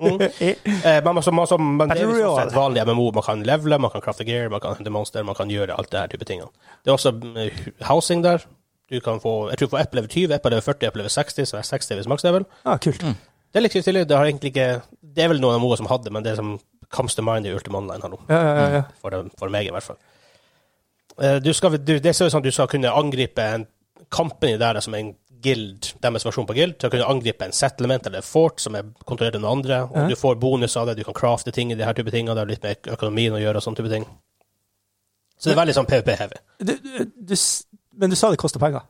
Speaker 2: Mm. Eh, Men, altså, man, som- men det er
Speaker 3: Battle
Speaker 2: liksom
Speaker 3: Royale.
Speaker 2: et vanlig MMO. Man kan levele, man kan crafte gear, man kan hente monster, man kan gjøre alt det her type tingene. Det er også mm, housing der. Du kan få, jeg tror du får ett level 20, ett level 40, ett level 60, så er 60 hvis maks level.
Speaker 3: Ah, kult.
Speaker 4: Mm.
Speaker 2: Det er litt stilig. Det har egentlig ikke Det er vel noen av MMO-er som hadde, men det som comes to mind i Ultima Online her nå.
Speaker 3: Ja, ja, ja, ja.
Speaker 2: For, dem- for meg, i hvert fall. Eh, Du skal, du, det ser ut som du skal kunne angripe en company der som er en guild, deres versjon på guild, til å kunne angripe en settlement eller fort som er kontrollert av noen andre, og du får bonus av det, du kan crafte ting i de her type ting, og det har litt med økonomien å gjøre og sånne type ting. Så det er veldig sånn PVP-heavy.
Speaker 3: Du, du, du, s- men du sa det koster penger.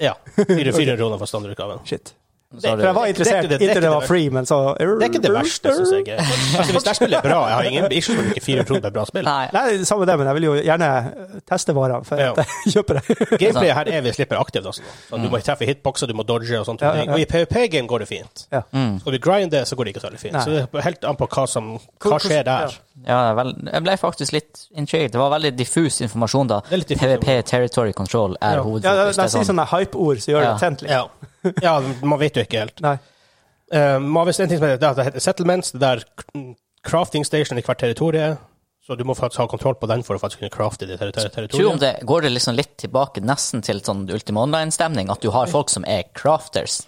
Speaker 2: Ja. 400 kroner for standardutgaven.
Speaker 3: Shit.
Speaker 4: Så har
Speaker 3: For jeg
Speaker 4: du,
Speaker 3: var interessert
Speaker 2: det- det- det-
Speaker 3: inntil det var free, men så
Speaker 2: Det er ikke det verste, syns jeg. Altså, hvis det her spillet er bra, jeg har ingen issues med å bruke 400 kroner på et bra spill.
Speaker 4: nei.
Speaker 3: Nei, det er samme det, men jeg vil jo gjerne eh, teste varer før
Speaker 2: Ja.
Speaker 3: jeg kjøper det.
Speaker 2: Gameplayet her er vi slipper aktivt, altså. Så du må treffe hitboxer, du må dodge og sånt.
Speaker 3: Mm. Ja, ja, ja.
Speaker 2: Og i PVP-game går det fint.
Speaker 3: Ja.
Speaker 4: Mm.
Speaker 2: Skal du grinde, så går det ikke så veldig fint.
Speaker 3: Nei.
Speaker 2: Så det er helt an på hva som hva
Speaker 3: Hvor-
Speaker 2: skjer der.
Speaker 4: Ja, vel, jeg ble faktisk litt intrigued. Det var veldig diffus informasjon da.
Speaker 2: Det er litt diffus.
Speaker 4: PVP, Territory Control, er
Speaker 2: Ja.
Speaker 4: hovedfokus.
Speaker 3: Ja, de,
Speaker 4: Det er
Speaker 3: sier
Speaker 4: sånn-
Speaker 3: sånne hype-ord som gjør det
Speaker 4: Ja.
Speaker 3: tent litt.
Speaker 2: Ja. ja, man vet jo ikke helt.
Speaker 3: Nei.
Speaker 2: Eh, man har visst en ting som heter, det er at det heter settlements, det der crafting station i hvert territorium. Så du må faktisk ha kontroll på den for å faktisk kunne crafte det ter ter
Speaker 4: Tror om
Speaker 2: territoriet.
Speaker 4: det, går det liksom litt tilbake nesten til sånn Ultima Online-stemning, at du har folk som er crafters?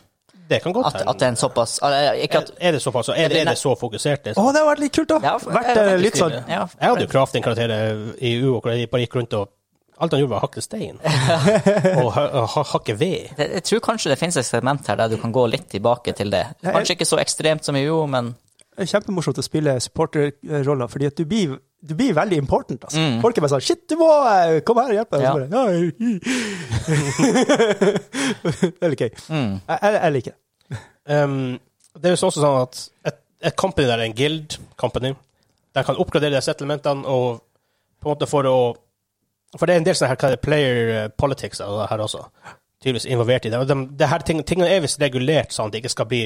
Speaker 2: Det kan godt
Speaker 4: At, at det er en såpass eller, Ikke at
Speaker 2: Er, er det såpass, er, det- er det så fokusert? Det,
Speaker 3: Å, det hadde vært litt kult, da!
Speaker 4: Ja,
Speaker 3: vært eh,
Speaker 4: veldig
Speaker 3: litt sånn
Speaker 4: stilig. Ja,
Speaker 2: Jeg hadde jo crafting-karakterer i UO, hvor jeg bare gikk rundt og Alt han gjorde, var å hakke stein. og ha, ha, hakke ved.
Speaker 4: det, jeg tror kanskje det finnes et segment her der du kan gå litt tilbake til det. Kanskje ikke så ekstremt som i UO, men
Speaker 3: kjempemorsomt å spille supporterroller, fordi at du blir, du blir veldig important. Altså.
Speaker 2: Mm.
Speaker 3: Folk er bare sånn 'Shit, du må eh, komme her og hjelpe!'
Speaker 4: Ja.
Speaker 3: Og så bare, «Ja, jeg- det er litt gøy.
Speaker 2: Mm.
Speaker 3: Jeg, jeg, jeg liker det.
Speaker 2: Ehm, det er jo også sånn at et, et company der er en guild company. Der kan oppgradere de settlementene og på en måte for å For det er en del sånne her hva er det, player eh, politics av det her også. Tydeligvis involvert i det. Og de, det her ting, tingene er visst regulert sånn at det ikke skal bli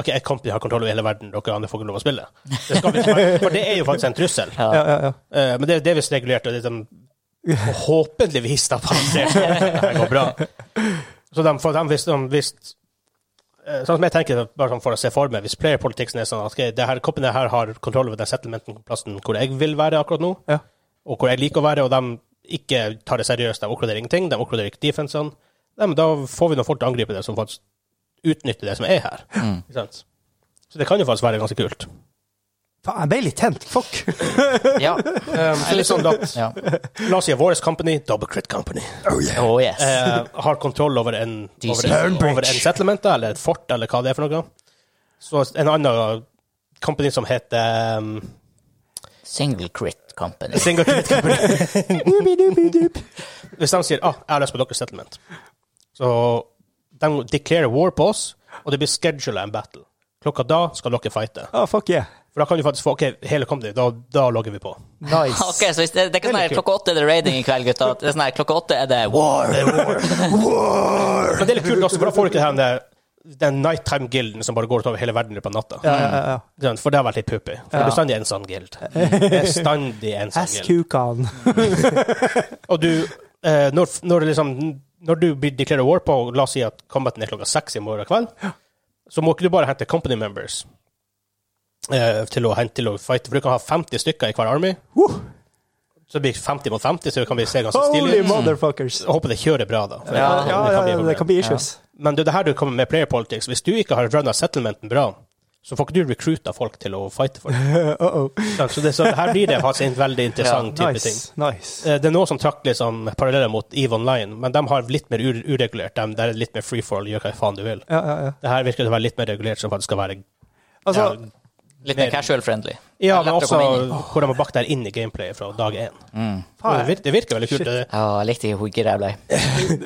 Speaker 2: OK, et company har kontroll over hele verden, dere andre får ikke lov å spille. Det skal vi ikke være, for det er jo faktisk en trussel.
Speaker 3: Ja, ja, ja.
Speaker 2: Eh, men det, det er visst regulert, og det er liksom de forhåpentligvis da passert. Det her går bra. Så de, for de, hvis, de, hvis eh, Sånn som jeg tenker, bare sånn for å se for meg, hvis player-politikken er sånn at okay, det her, koppene her har kontroll over den settlementen plassen hvor jeg vil være akkurat nå,
Speaker 3: Ja.
Speaker 2: og hvor jeg liker å være, og de ikke tar det seriøst, de oppgraderer ingenting, de oppgraderer ikke defensene, ja, men da får vi noen folk til å angripe det som faktisk utnytter det som er her. Ikke sant? Så det kan jo faktisk være ganske kult.
Speaker 3: Faen, jeg ble litt tent. Fuck!
Speaker 4: ja.
Speaker 2: Um, så litt sånn at
Speaker 4: ja.
Speaker 2: La oss si at vår company, Double Crit Company,
Speaker 4: Oh yes.
Speaker 2: eh, har kontroll over en, over, en,
Speaker 3: Turnbridge.
Speaker 2: over en settlement, da, eller et fort, eller hva det er for noe. Så en annen company som heter um,
Speaker 4: Single Crit Company.
Speaker 2: Single Crit Company
Speaker 3: Dubidubidup.
Speaker 2: Hvis de sier ah, 'jeg har lyst på deres settlement', så de declarer war på oss, og det blir schedula en battle. Klokka da skal dere fighte.
Speaker 3: Ah, fuck yeah.
Speaker 2: For da kan du faktisk få OK, hele company, da, da logger vi på.
Speaker 3: Nice.
Speaker 4: Ok, så hvis det, det er ikke sånn her klokka åtte er det raiding i kveld, gutta. Det er sånn her klokka åtte er det war.
Speaker 2: Men det er litt kult også, for da får du ikke den, der- den nighttime-gilden som bare går utover hele verden i løpet av natta.
Speaker 3: Ja, ja, ja.
Speaker 2: Ikke sant? For det har vært litt puppig. For det er bestandig en sånn guild. Bestandig en sånn guild.
Speaker 3: Ass-kukan.
Speaker 2: Og du, eh, når, når, det liksom, når du blir declared war på, og la oss si at combaten er klokka seks i morgen kveld, så må ikke du bare hente company members eh, til å hente til å fighte, for du kan ha 50 stykker i hver army.
Speaker 3: Woo.
Speaker 2: Så det blir 50 mot 50, så det kan bli se ganske
Speaker 3: Holy
Speaker 2: stilig ut.
Speaker 3: motherfuckers.
Speaker 2: Jeg håper det kjører bra, da. For
Speaker 3: Ja,
Speaker 2: det kan
Speaker 3: ja,
Speaker 2: bli
Speaker 3: ja,
Speaker 2: et
Speaker 3: det
Speaker 2: problem.
Speaker 3: kan bli issues.
Speaker 2: Men det er det her du kommer med player politics. Hvis du ikke har runna settlementen bra, så får ikke du recruita folk til å fighte for det.
Speaker 3: Uh-oh.
Speaker 2: Så, det, så her blir det faktisk en veldig interessant type ting.
Speaker 3: Nice. nice.
Speaker 2: Eh, Det er noe som trakk liksom paralleller mot EVE Online, men de har litt mer ure- uregulert. De, der er litt mer free for all, gjør hva faen du vil.
Speaker 3: Ja, ja, ja.
Speaker 2: Det her virker til å være litt mer regulert, som faktisk skal være
Speaker 3: Altså,
Speaker 2: ja,
Speaker 4: Litt mer casual friendly. Det
Speaker 2: ja,
Speaker 4: er
Speaker 2: men altså-
Speaker 4: lett å
Speaker 2: også
Speaker 4: komme inn i.
Speaker 2: hvor de har bakt det her inn i gameplayet fra dag én.
Speaker 3: faen,
Speaker 2: Det, virker, det virker veldig kult. Eh, Det,
Speaker 4: Ja, jeg likte ikke hvor gira jeg ble.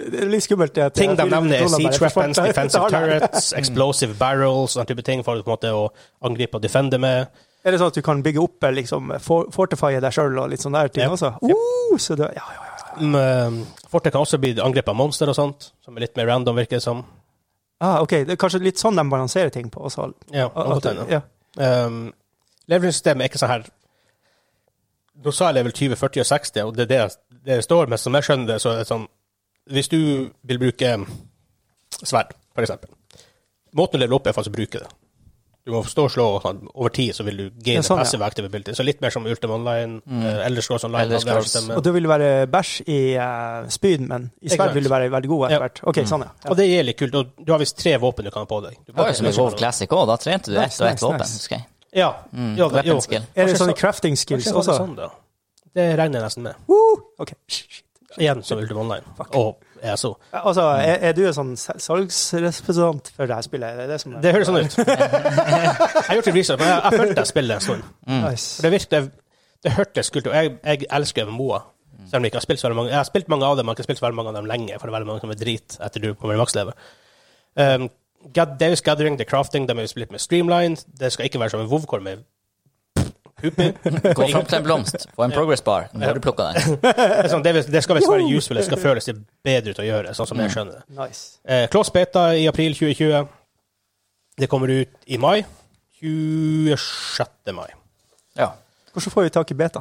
Speaker 3: Det er litt skummelt. det at-
Speaker 2: ting de
Speaker 3: jeg-
Speaker 2: nevner, er
Speaker 3: Roland bare,
Speaker 2: siege weapons,
Speaker 3: «Fuck,
Speaker 2: defensive
Speaker 3: det har jeg».
Speaker 2: turrets, explosive barrels, sånne type ting for å, på en måte, å angripe og defende med.
Speaker 3: Er det sånn at du kan bygge opp eh, liksom, for- fortifye deg sjøl og litt sånne der ting
Speaker 2: Ja.
Speaker 3: også? Uh, så det, ja, ja, ja.
Speaker 2: Mm, Fortet kan også bli angrepet av monster og sånt, som er litt mer random, virker det som.
Speaker 3: Ah, ok, det er kanskje litt sånn de balanserer ting på også.
Speaker 2: Ja,
Speaker 3: At-
Speaker 2: godt hende.
Speaker 3: Ah, ja.
Speaker 2: Um, levelsystemet er ikke sånn her Nå sa jeg level 20, 40 og 60, og det er det det står, men som jeg skjønner det, så er det sånn Hvis du vil bruke eh, sverd, for eksempel Måten du leveler opp, er faktisk å bruke det. Du må stå og slå, og sånn. over tid så vil du gaine
Speaker 3: Ja, sånn, ja.
Speaker 2: passive active ability. Så litt mer som Ultima Online, mm. Elder Scrolls Online.
Speaker 4: Elder
Speaker 2: det er
Speaker 4: Scrolls.
Speaker 2: systemet.
Speaker 3: Og du vil være bæsj i eh, spyd, men i sverd
Speaker 2: Exakt.
Speaker 3: vil du være veldig god etter
Speaker 2: Ja. Mm.
Speaker 3: hvert. Ok, sånn, ja.
Speaker 2: Og det er litt kult. Og du har visst tre våpen du kan ha på deg. Du
Speaker 4: Det var jo som i WoW Classic òg, da trente du ett
Speaker 3: Nice,
Speaker 4: og ett
Speaker 3: nice,
Speaker 4: våpen,
Speaker 3: nice.
Speaker 4: husker jeg.
Speaker 2: ja. ja, det- sånn jo.
Speaker 4: Weapon skill.
Speaker 3: Er det
Speaker 2: Kanskje
Speaker 3: sånne
Speaker 2: så-
Speaker 3: crafting skills
Speaker 2: Kanskje det var
Speaker 3: også?
Speaker 2: sånn, da. Det regner jeg nesten med.
Speaker 3: Woo! Ok. Shit.
Speaker 2: Igjen som Ultima Online. Og ESO.
Speaker 3: Altså,
Speaker 2: Mm.
Speaker 3: er, er du en sånn sel- salgsrepresentant for det her spillet? Er det det som er
Speaker 2: Det høres sånn ut. jeg har gjort litt research, men jeg, jeg følte jeg spillet en stund. For
Speaker 3: Nice.
Speaker 2: Det virket, det hørtes kult ut. og Jeg, jeg elsker MMO-er. Selv om jeg ikke har spilt så veldig mange. Jeg har spilt mange av dem, men jeg har ikke spilt så veldig mange av dem lenge, for det er veldig mange som er drit etter du kommer i makslevet. Um, Ga- Deus Gathering, The Crafting, de er litt mer streamlined. Det skal ikke være som en WoW-kår med Hupi.
Speaker 4: Gå fram til en blomst, få en progress bar. Nå har du plukka den.
Speaker 2: Det er sånn, det, det skal visst være useful, det skal føles det bedre ut å gjøre, sånn som jeg skjønner det.
Speaker 3: Nice.
Speaker 2: Eh, Kloss Beta i april 2020. Det kommer ut i mai. 26. mai.
Speaker 4: Ja.
Speaker 3: Hvordan får vi tak i beta?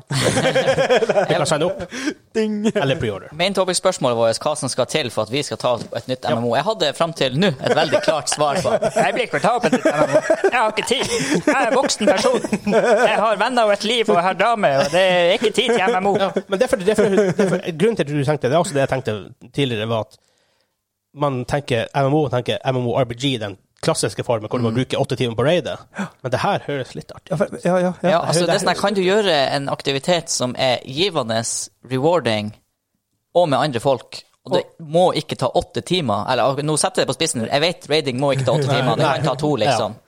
Speaker 2: Du kan signe opp
Speaker 3: Ding!
Speaker 2: eller preorder.
Speaker 4: Main topic-spørsmålet vårt hva som skal til for at vi skal ta opp et nytt MMO. Jeg hadde fram til nå et veldig klart svar på Jeg blir ikke ta opp et nytt MMO. Jeg har ikke tid. Jeg er en voksen person. Jeg har venner og et liv, og jeg har dame, og det er ikke tid til MMO.
Speaker 2: Ja, men derfor, derfor, derfor, grunnen til at du tenkte det, det, er også det jeg tenkte tidligere, var at man tenker MMO, tenker MMO-RBG, den klassiske formen hvor man bruker åtte timer på raidet. Men det her høres litt artig ut.
Speaker 3: Ja, for- ja, ja. ja.
Speaker 4: Ja, altså det er sånn her, Kan du gjøre en aktivitet som er givende, rewarding og med andre folk, og det må ikke ta åtte timer Eller ok, nå setter jeg det på spissen, jeg vet raiding må ikke ta åtte timer, det kan ta to, liksom.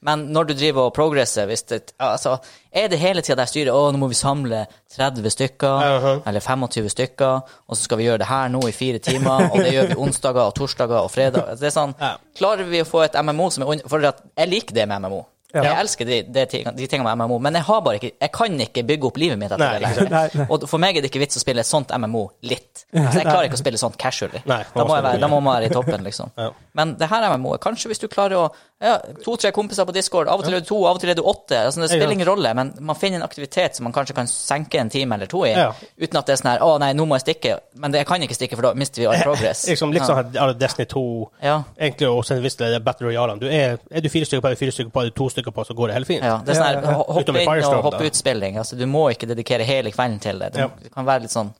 Speaker 4: Men når du driver og progresser hvis det, altså, Er det hele tida der styret Å, nå må vi samle 30 stykker, eller 25 stykker, og så skal vi gjøre det her nå i fire timer, og det gjør vi onsdager og torsdager og fredag Altså, Det er sånn,
Speaker 2: Ja.
Speaker 4: Klarer vi å få et MMO som er un- For at jeg liker det med MMO.
Speaker 3: Ja.
Speaker 4: Jeg elsker de, de, ting- de tingene med MMO, men jeg, har bare ikke, jeg kan ikke bygge opp livet mitt etter
Speaker 2: Nei,
Speaker 4: det.
Speaker 2: ikke sant.
Speaker 4: lenger.
Speaker 3: Nei, nei.
Speaker 4: Og for meg er det ikke vits å spille et sånt MMO litt. Altså, jeg klarer ikke å spille sånt casually.
Speaker 2: Nei,
Speaker 4: da, må jeg være,
Speaker 2: absolutt.
Speaker 4: da må man være i toppen, liksom.
Speaker 2: Ja.
Speaker 4: Men det her MMO-et, kanskje hvis du klarer å ja, To-tre kompiser på Discord, av og til er du to, av og til er du åtte. Altså, det
Speaker 2: Ikke sant.
Speaker 4: spiller ingen rolle, men man finner en aktivitet som man kanskje kan senke en time eller to i,
Speaker 2: Ja.
Speaker 4: uten at det er sånn her Å nei, nå må jeg stikke. Men det, jeg kan ikke stikke, for da mister vi all progress.
Speaker 2: Liksom, litt sånn her ja, Destiny 2,
Speaker 4: Ja.
Speaker 2: egentlig, og så visst det er Battle Royale. Du er, er du fire stykker på, er du fire stykker på, er du to stykker på, så går det helt fint.
Speaker 4: Ja, det er sånn her,
Speaker 3: Ja, ja, ja.
Speaker 4: hoppe
Speaker 2: Utom i
Speaker 4: inn og
Speaker 2: Firestorm, da.
Speaker 4: hoppe ut-spilling. Altså, du må ikke dedikere hele kvelden til det. Det
Speaker 2: Ja.
Speaker 4: det kan være litt sånn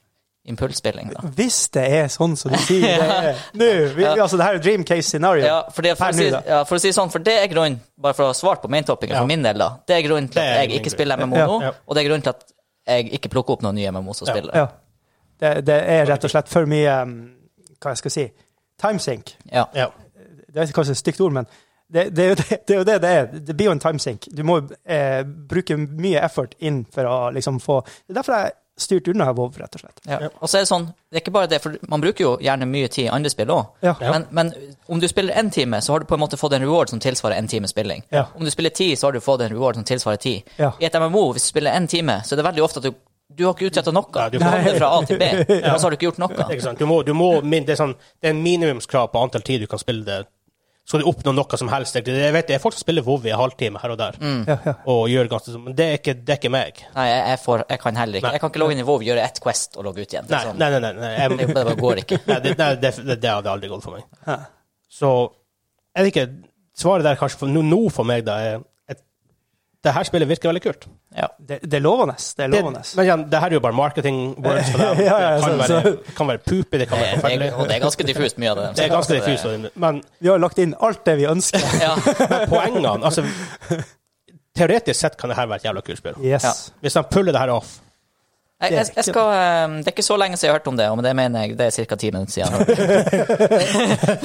Speaker 4: impulsspilling, da.
Speaker 3: Hvis det er sånn som du sier det er nå vi, Altså, det her er dream case scenario.
Speaker 4: Ja, fordi, for,
Speaker 3: Per
Speaker 4: å si,
Speaker 3: nå, da.
Speaker 4: ja, for å si sånn, for det er grunnen, bare for å ha svart på maintoppingen
Speaker 2: Ja.
Speaker 4: for min del, da. Det er grunnen til
Speaker 2: Det er
Speaker 4: at jeg
Speaker 2: min
Speaker 4: ikke
Speaker 2: grunn.
Speaker 4: spiller MMO
Speaker 3: Ja,
Speaker 4: nå,
Speaker 2: ja.
Speaker 4: og det er grunnen til at jeg ikke plukker opp noen nye MMO som
Speaker 2: Ja,
Speaker 4: spiller.
Speaker 3: Ja. Det, det er rett og slett for mye um, Hva jeg skal si Timesink.
Speaker 4: Ja.
Speaker 2: Ja.
Speaker 3: Det er kanskje et stygt ord, men det, det, er jo det, det er jo det det er. Det blir jo en timesink. Du må eh, bruke mye effort inn for å liksom få Det er derfor jeg styrte unna her, WoW, rett og slett.
Speaker 4: Ja. Og så er det sånn, det er ikke bare det, for man bruker jo gjerne mye tid i andre spill òg.
Speaker 3: Ja.
Speaker 4: Men, men om du spiller én time, så har du på en måte fått en reward som tilsvarer én time spilling.
Speaker 3: Ja.
Speaker 4: Om du spiller ti, så har du fått en reward som tilsvarer ti.
Speaker 3: Ja.
Speaker 4: I et MMO, hvis du spiller én time, så er det veldig ofte at du, du har ikke utretta noe.
Speaker 2: Nei,
Speaker 4: du
Speaker 2: du-
Speaker 4: kom det fra A til B, og så har du ikke gjort noe.
Speaker 2: Ikke sant? Du må, du må, min- det, er sånn, det er en minimumskrav på antall tid du kan spille det. Skal du oppnå noe som helst? egentlig. Jeg vet, det er folk som spiller WoW i en halvtime her og der,
Speaker 4: Mm.
Speaker 3: Ja, ja.
Speaker 2: og gjør ganske sånn, men det er ikke, det er ikke meg.
Speaker 4: Nei, jeg, jeg, får, jeg kan heller ikke. Jeg kan ikke logge inn i WoW, gjøre ett Quest og logge ut igjen. Det,
Speaker 2: Nei,
Speaker 4: er sånn.
Speaker 2: nei, nei. nei, nei, jeg,
Speaker 4: det, det bare går ikke.
Speaker 2: nei det, nei, det, det, det hadde aldri gått for meg.
Speaker 3: Ja.
Speaker 2: Så jeg vet ikke Svaret der kanskje for, nå, nå for meg, da, er at det her spillet virker veldig kult.
Speaker 4: Ja.
Speaker 3: Det, det er lovende. Det er
Speaker 2: Det,
Speaker 3: lovende.
Speaker 2: men igjen, det her er jo bare marketing words for dem.
Speaker 3: Ja, ja,
Speaker 2: det kan,
Speaker 3: så-
Speaker 2: være, kan være poopy, det kan
Speaker 4: Det er,
Speaker 2: være
Speaker 4: det er, og
Speaker 2: forferdelig.
Speaker 4: det er ganske diffust, mye av det.
Speaker 2: Det er ganske diffust. og- Men
Speaker 3: Vi har lagt inn alt det vi ønsker.
Speaker 4: Ja.
Speaker 2: Men poengene altså, Teoretisk sett kan det her være et jævla kult spill.
Speaker 3: Yes.
Speaker 4: Ja.
Speaker 2: Hvis de puller det her off
Speaker 4: Jeg, jeg, jeg skal, eh, det er ikke så lenge siden jeg har hørt om det, og med det mener jeg det er ca. ti minutter siden. jeg hørte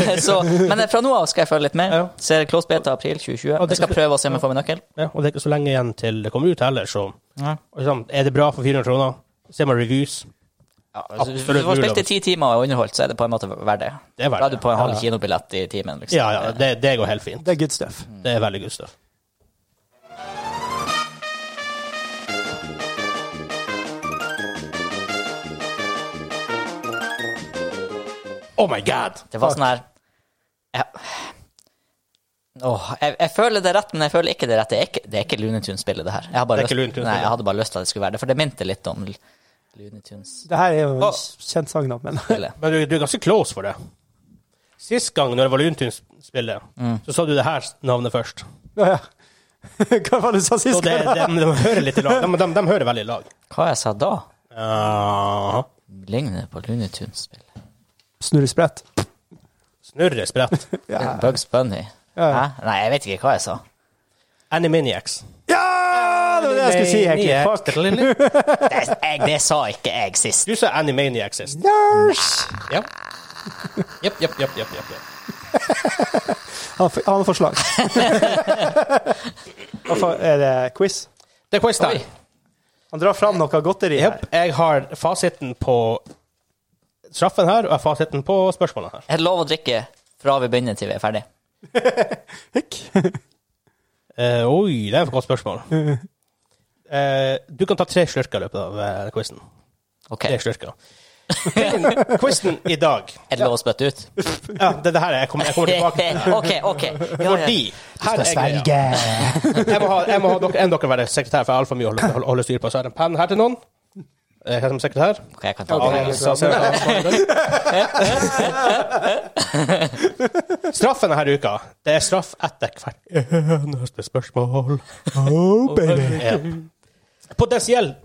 Speaker 4: det. så, men eh, fra nå av skal jeg følge litt med.
Speaker 2: Ja.
Speaker 4: Ser close beta april 2020.
Speaker 2: det
Speaker 4: Jeg skal
Speaker 2: skal-
Speaker 4: prøve å se om jeg får min nøkkel.
Speaker 2: ja, Og det er ikke så lenge igjen til det kommer ut heller, så
Speaker 4: Ja.
Speaker 2: og liksom, Er det bra for 400 kroner? Ser man reviews?
Speaker 4: altså, Hvis du- Hvis
Speaker 2: absolutt
Speaker 4: du har spilt i
Speaker 2: mulig.
Speaker 4: ti timer og underholdt, så er det på en måte verdt det.
Speaker 2: Det er verdt
Speaker 4: Da er du
Speaker 2: det.
Speaker 4: på en halv
Speaker 2: Ja, ja.
Speaker 4: kinobillett i timen. Liksom.
Speaker 2: Ja, ja, det, det går helt fint.
Speaker 3: Det er good stuff.
Speaker 2: Det er veldig good stuff. Oh my god!
Speaker 4: Det var sånn her jeg, Åh, jeg, jeg føler det er rett, men jeg føler ikke det er rett. Det er ikke, det er ikke Looney Tunes-spillet, det her. Jeg, har bare
Speaker 2: Det er ikke Looney
Speaker 4: lyst,
Speaker 2: Tunes-spillet.
Speaker 4: nei, jeg hadde bare lyst til at det skulle være det, for det minte litt om Looney Tunes-spillet.
Speaker 3: Det her er jo en
Speaker 2: Å.
Speaker 3: kjent sang, da, men
Speaker 2: Men du, du er ganske close for det. Sist gang, når det var Luntunes-spillet, så sa du det her navnet først.
Speaker 3: ja, ja. Hva var det du sa
Speaker 2: Så
Speaker 3: sist?
Speaker 2: det,
Speaker 3: gang, da?
Speaker 2: de, de hører litt i lag. De, de, de hører veldig i lag.
Speaker 4: Hva jeg sa da?
Speaker 2: Ja.
Speaker 4: Ligner på Looney Tunes-spillet.
Speaker 3: Snurre sprett.
Speaker 2: Snurre sprett.
Speaker 3: Ja!
Speaker 4: Bugs Bunny.
Speaker 3: Ja.
Speaker 4: Hæ? Nei, jeg vet ikke hva jeg sa.
Speaker 2: Animaniacs.
Speaker 3: ja! Det var det jeg skulle si, egentlig. Fuck.
Speaker 2: Fuck.
Speaker 4: Det, jeg, det sa ikke jeg sist.
Speaker 2: Du sa Animaniacs sist.
Speaker 3: Nurse!
Speaker 2: Ja. Jepp, jepp, jepp. jepp, jepp, jepp.
Speaker 3: Han f- han har forslag. Hva for, er det quiz?
Speaker 2: Det er quiz time.
Speaker 3: Han drar fram noe godteri her.
Speaker 2: Jepp. Jeg har fasiten på straffen her, og jeg har fasiten på spørsmålene her.
Speaker 4: Jeg lover å drikke fra vi begynner til vi er ferdig.
Speaker 2: Eh, oi, det er et godt spørsmål. Eh, du kan ta tre slurker i løpet av uh, quizen.
Speaker 4: OK.
Speaker 2: Tre slurker. Quizen- Quizen i dag
Speaker 4: Er det lov å spytte ut?
Speaker 2: Ja, det, det her er jeg kommer, jeg kommer tilbake til. det.
Speaker 4: OK, OK. Ja, ja.
Speaker 2: Fordi her er greia. Jeg må ha, jeg må ha dere, en dere være sekretær, for jeg har altfor mye å holde, holde, holde styr på. Så er det en penn her til noen. Eh, Her som sekretær.
Speaker 4: Ok, jeg kan ta
Speaker 2: Ja,
Speaker 4: det.
Speaker 2: det er liksom- sant. liksom- Straffen denne uka, det er straff etter hvert eneste spørsmål. Ja. Potensielt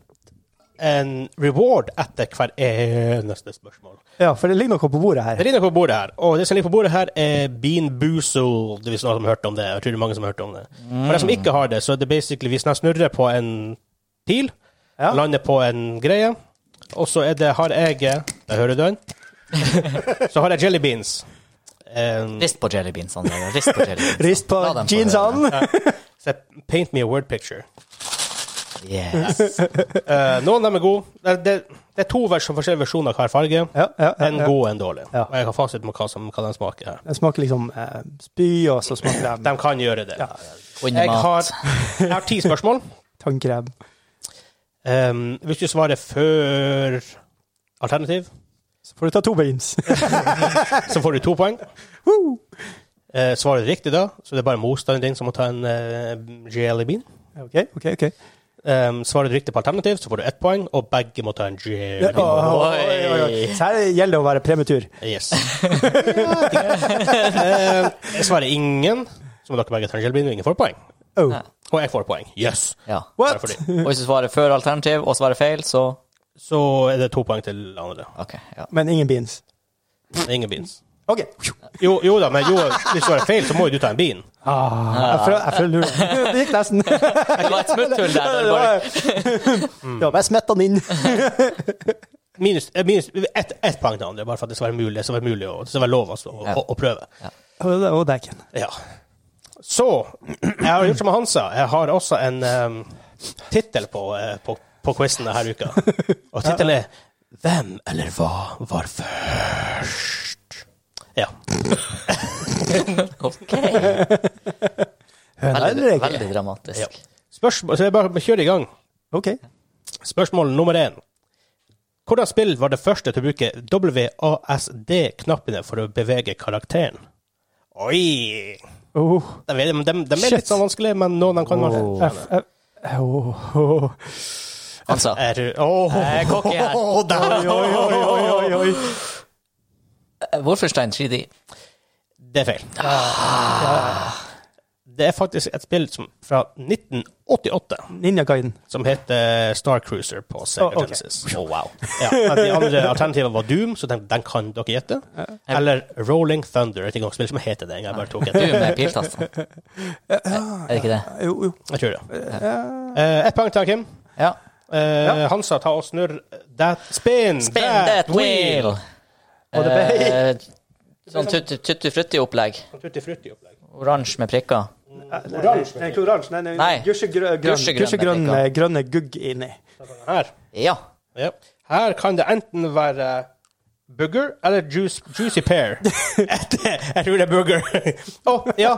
Speaker 2: en reward etter hvert eneste spørsmål.
Speaker 3: Ja, for det ligger noe på bordet her.
Speaker 2: Det ligger på bordet her, og det som ligger på bordet her, er Bean Boozled, hvis noen som har hørt om det. Jeg tror det er mange som har hørt om det. For de som ikke har det, så er det basically hvis de snurrer på en pil,
Speaker 3: Ja.
Speaker 2: lander på en greie, og så er det, har jeg Der hører du den. så har jeg jelly beans. Um,
Speaker 4: Rist på jellybeans, André. Rist på jellybeans.
Speaker 3: Rist på
Speaker 4: La dem få høre
Speaker 3: jeansene!
Speaker 2: så paint me a word picture.
Speaker 4: det. Yes.
Speaker 2: Eh, noen av dem er gode. Det, det, det er to vers, forskjellige versjoner av hver farge.
Speaker 3: Ja, ja, ja,
Speaker 2: En
Speaker 3: ja.
Speaker 2: god og en dårlig.
Speaker 3: Ja.
Speaker 2: Og jeg har fasit på hva, som, hva den smaker her.
Speaker 3: Den smaker liksom eh, spy, og så smaker
Speaker 2: De
Speaker 3: den
Speaker 2: kan gjøre det.
Speaker 3: Ja.
Speaker 4: Under
Speaker 2: Jeg, har,
Speaker 4: mat.
Speaker 2: jeg har ti spørsmål.
Speaker 3: tannkrem.
Speaker 2: Um, hvis du svarer før alternativ,
Speaker 3: Så får du ta to beans.
Speaker 2: så får du to poeng. Eh, svarer du riktig da, så det er bare motstanderen din som må ta en uh, jelly bean.
Speaker 3: OK, OK. ok.
Speaker 2: Um, svarer du riktig på alternativ, så får du ett poeng, og begge må ta en jelly
Speaker 3: Ja,
Speaker 2: bean.
Speaker 3: oi, oi, oi. Så her gjelder det å være prematur.
Speaker 2: Yes. Eh, jeg svarer ingen, så må dere begge ta en jelly bean, og ingen får poeng.
Speaker 3: Oh,
Speaker 2: Og jeg får poeng. Yes!
Speaker 4: Ja.
Speaker 2: Bare
Speaker 3: what?
Speaker 2: fordi.
Speaker 4: Og hvis du svarer før alternativ og svarer feil, så
Speaker 2: Så er det to poeng til andre.
Speaker 4: OK. Ja.
Speaker 3: Men ingen beans.
Speaker 2: Det er Ingen beans.
Speaker 3: OK.
Speaker 2: Jo, jo da, men jo, hvis du svarer feil, så må jo du ta en bean.
Speaker 3: Ah, jeg føler- jeg føler lurer. Det gikk nesten.
Speaker 4: Det var et smutthull der. der bare,
Speaker 3: Det var bare smett den inn.
Speaker 2: Minus, eh, minus ett ett poeng til andre, bare for at det skal være mulig, det skal være mulig å, det skal være lov altså, å,
Speaker 4: Ja.
Speaker 2: å, å prøve.
Speaker 3: Og dæken.
Speaker 2: Ja. Så jeg har gjort som Hansa. Jeg har også en um, tittel på, eh, på, på quizen denne uka. Og tittelen er 'Hvem eller hva var først?' Ja.
Speaker 4: OK.
Speaker 3: Høna eller
Speaker 4: Veldig,
Speaker 3: egg?
Speaker 4: veldig
Speaker 2: Ja.
Speaker 4: dramatisk.
Speaker 2: Spørsmål, så jeg bare kjører i gang.
Speaker 3: OK.
Speaker 2: Spørsmål nummer én. Hvordan spill var det første til å bruke WASD-knappene for å bevege karakteren? Oi!
Speaker 3: Oh.
Speaker 2: De, de, de, de er
Speaker 3: Shit.
Speaker 2: litt sånn vanskelige, men noen de kan være
Speaker 3: F, F, oh, oh.
Speaker 4: Altså,
Speaker 2: Er du Åh,
Speaker 4: jeg er cocky her.
Speaker 2: åh, der-
Speaker 3: Oi, oi, oi, oi, oi.
Speaker 4: Wolfenstein 3D.
Speaker 2: Det er feil.
Speaker 4: Ah.
Speaker 2: Det er faktisk et spill som, fra 1988
Speaker 3: Ninja Gaiden.
Speaker 2: som heter Star Cruiser på
Speaker 3: Å,
Speaker 2: Sega
Speaker 3: ok.
Speaker 2: Genesis. Oh, wow. ja, men de andre alternativene var Doom, så den, den kan dere gjette. Eller Rolling Thunder, et engangsspill som heter det. Jeg bare tok
Speaker 4: Du
Speaker 2: et.
Speaker 4: med piltasten. Er det ikke det?
Speaker 3: Jo, jo.
Speaker 2: Jeg tror det. Eh, Ett poeng til Kim.
Speaker 4: Ja.
Speaker 2: Eh,
Speaker 3: Ja.
Speaker 2: Hansa, ta og snurr that spin,
Speaker 4: Spin that wheel!
Speaker 3: Og det ble-
Speaker 4: Eh, Sånn tutti-frutti-opplegg.
Speaker 2: Tutti-frutti-opplegg.
Speaker 4: Oransje med prikker.
Speaker 3: Oransje. Nei, ikke oransje. Nei, nei,
Speaker 4: Nei.
Speaker 3: Gusjegrønn
Speaker 4: Gusjegrønn,
Speaker 3: gusjegrønn
Speaker 4: tenker
Speaker 3: med eh, grønne gugg inni.
Speaker 2: Her.
Speaker 4: Ja.
Speaker 2: Ja. Her kan det enten være booger eller juice, juicy pear. jeg tror det er booger. Å, ja.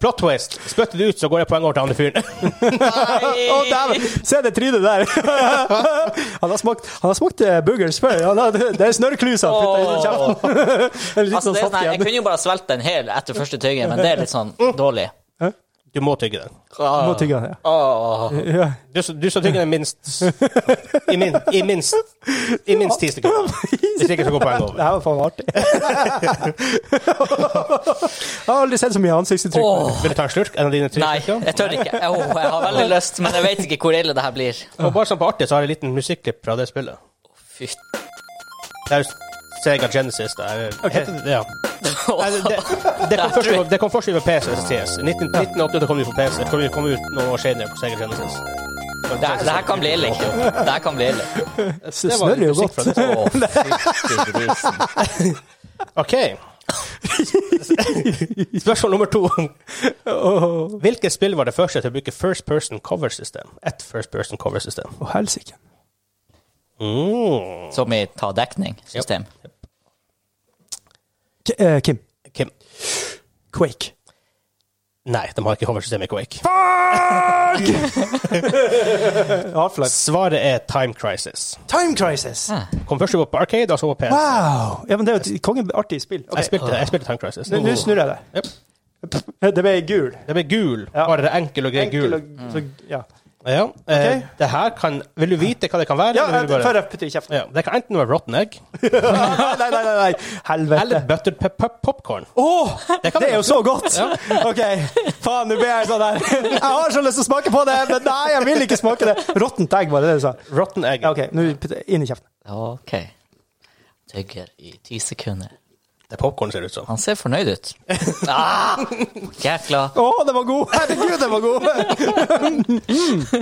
Speaker 2: Plot twist. Spytter det ut, så går jeg poeng over til andre fyren.
Speaker 3: Å, dæven! Se det trynet der! han har smakt, han har smakt eh, burgers før. Han har, det er snørrklusa han putter i kjeften. En litt
Speaker 4: Altså,
Speaker 3: sånn
Speaker 4: det er
Speaker 3: saft
Speaker 4: sånn, her, jeg
Speaker 3: igjen. Mm.
Speaker 4: kunne jo bare svelget den hel etter første tygge, men det er litt sånn dårlig.
Speaker 2: Du må tygge den.
Speaker 3: Må tygge den, ja. ja.
Speaker 2: Du, som- du som tygger den minst I, min, i minst I minst ti sekunder. Hvis ikke, så går poeng
Speaker 3: Det
Speaker 2: over.
Speaker 3: her var faen artig. jeg har aldri sett så mye ansiktsuttrykk.
Speaker 4: Åh.
Speaker 2: Vil du ta en slurk? En av dine tre
Speaker 4: Nei,
Speaker 2: slurker?
Speaker 4: jeg tør ikke. Åh, jeg har veldig lyst, men jeg vet ikke hvor ille det her blir.
Speaker 2: Og bare sånn på artig, så har jeg en liten musikklipp fra det spillet.
Speaker 4: Fy.
Speaker 2: Det er jo Sega Genesis, da. Heter det, ja. Nei, det, det- det, kom først, ut- det kom først ut på PC. CS. 19, 1988 kom det ut på PC. Det kom, kom ut noen år senere på Sega Genesis.
Speaker 4: Det, her- det her kan bli ille. ikke? Det her kan bli ille.
Speaker 3: Det snørrer jo
Speaker 2: musikk
Speaker 3: godt.
Speaker 2: fra det.
Speaker 4: Åh, fytti grisen.
Speaker 2: OK. Spørsmål nummer to. Hvilket spill var det første til å bruke first person cover system? Et first person cover system.
Speaker 3: Å, helsike.
Speaker 2: Mm.
Speaker 4: Som i ta dekning-system.
Speaker 3: K- eh, Kim.
Speaker 2: Kim.
Speaker 3: Quake.
Speaker 2: Nei, de har ikke hoversystemet i Quake.
Speaker 3: Half-Life.
Speaker 2: Svaret er Time Crisis.
Speaker 3: Time Crisis!
Speaker 2: Kom først ut på Arcade, og så på PS.
Speaker 3: Wow! Ja, men det er jo et kongeartig spill. Ok.
Speaker 2: Jeg, spilte, jeg spilte Time Crisis.
Speaker 3: Nå- Nå snur jeg det. Det ble gul.
Speaker 2: Det ble gul.
Speaker 3: Ja.
Speaker 2: Bare enkel og grei
Speaker 3: Enkel
Speaker 2: gul. Mm.
Speaker 3: og- så, ja.
Speaker 2: Ja, eh, det her kan Vil du vite hva det kan være?
Speaker 3: ja,
Speaker 2: eller vil du
Speaker 3: jeg-
Speaker 2: bare-
Speaker 3: før jeg putter i kjeften.
Speaker 2: ja, det kan enten være rotten egg
Speaker 3: Nei, nei, nei,
Speaker 2: eller
Speaker 3: nei. helvete.
Speaker 2: buttered pop pop popcorn.
Speaker 3: Åh,
Speaker 2: Det kan
Speaker 3: det er
Speaker 2: være.
Speaker 3: jo så godt! OK, faen, nå ble jeg sånn der. Jeg har så lyst til å smake på det, men nei, jeg vil ikke smake det. Råttent egg, var det det du sa?
Speaker 2: Rotten egg.
Speaker 3: Ja, OK, nå putter jeg inn i kjeften.
Speaker 4: OK. Tygger i ti sekunder.
Speaker 2: Det er popcorn, ser det ut som.
Speaker 4: Han ser fornøyd ut. Ah, jækla
Speaker 3: Å, den var god! Herregud, den var god!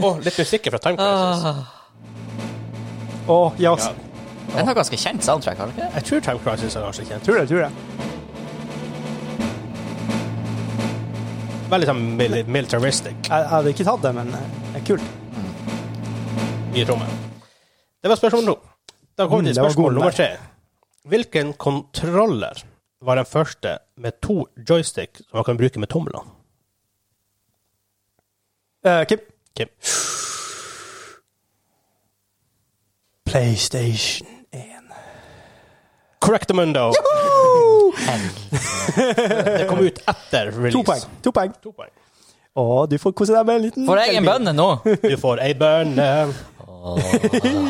Speaker 2: Å, litt musikk fra Time Crisis.
Speaker 4: Ah,
Speaker 3: Å, yes.
Speaker 4: Den har ganske kjent soundtrack, har den ikke? det?
Speaker 2: Jeg tror Time Crisis er kanskje kjent.
Speaker 3: Tror det, tror det.
Speaker 2: Veldig sånn mil militaristic
Speaker 3: Jeg, jeg hadde ikke tatt det, men eh, det er kult.
Speaker 2: i rommet. Det var spørsmål to. Da kommer vi
Speaker 3: Mm,
Speaker 2: til
Speaker 3: det var god,
Speaker 2: spørsmål nummer
Speaker 3: nei.
Speaker 2: tre. Hvilken kontroller var den første med to joystick som man kan bruke med tomler?
Speaker 3: Eh, Kim?
Speaker 2: Kim.
Speaker 3: PlayStation 1.
Speaker 2: Correctamundo. Det kom ut etter release.
Speaker 3: To poeng. To poeng.
Speaker 2: To poeng.
Speaker 3: Å, du får kose deg med en liten
Speaker 4: Får jeg en bønne nå?
Speaker 2: Du får ei bønne.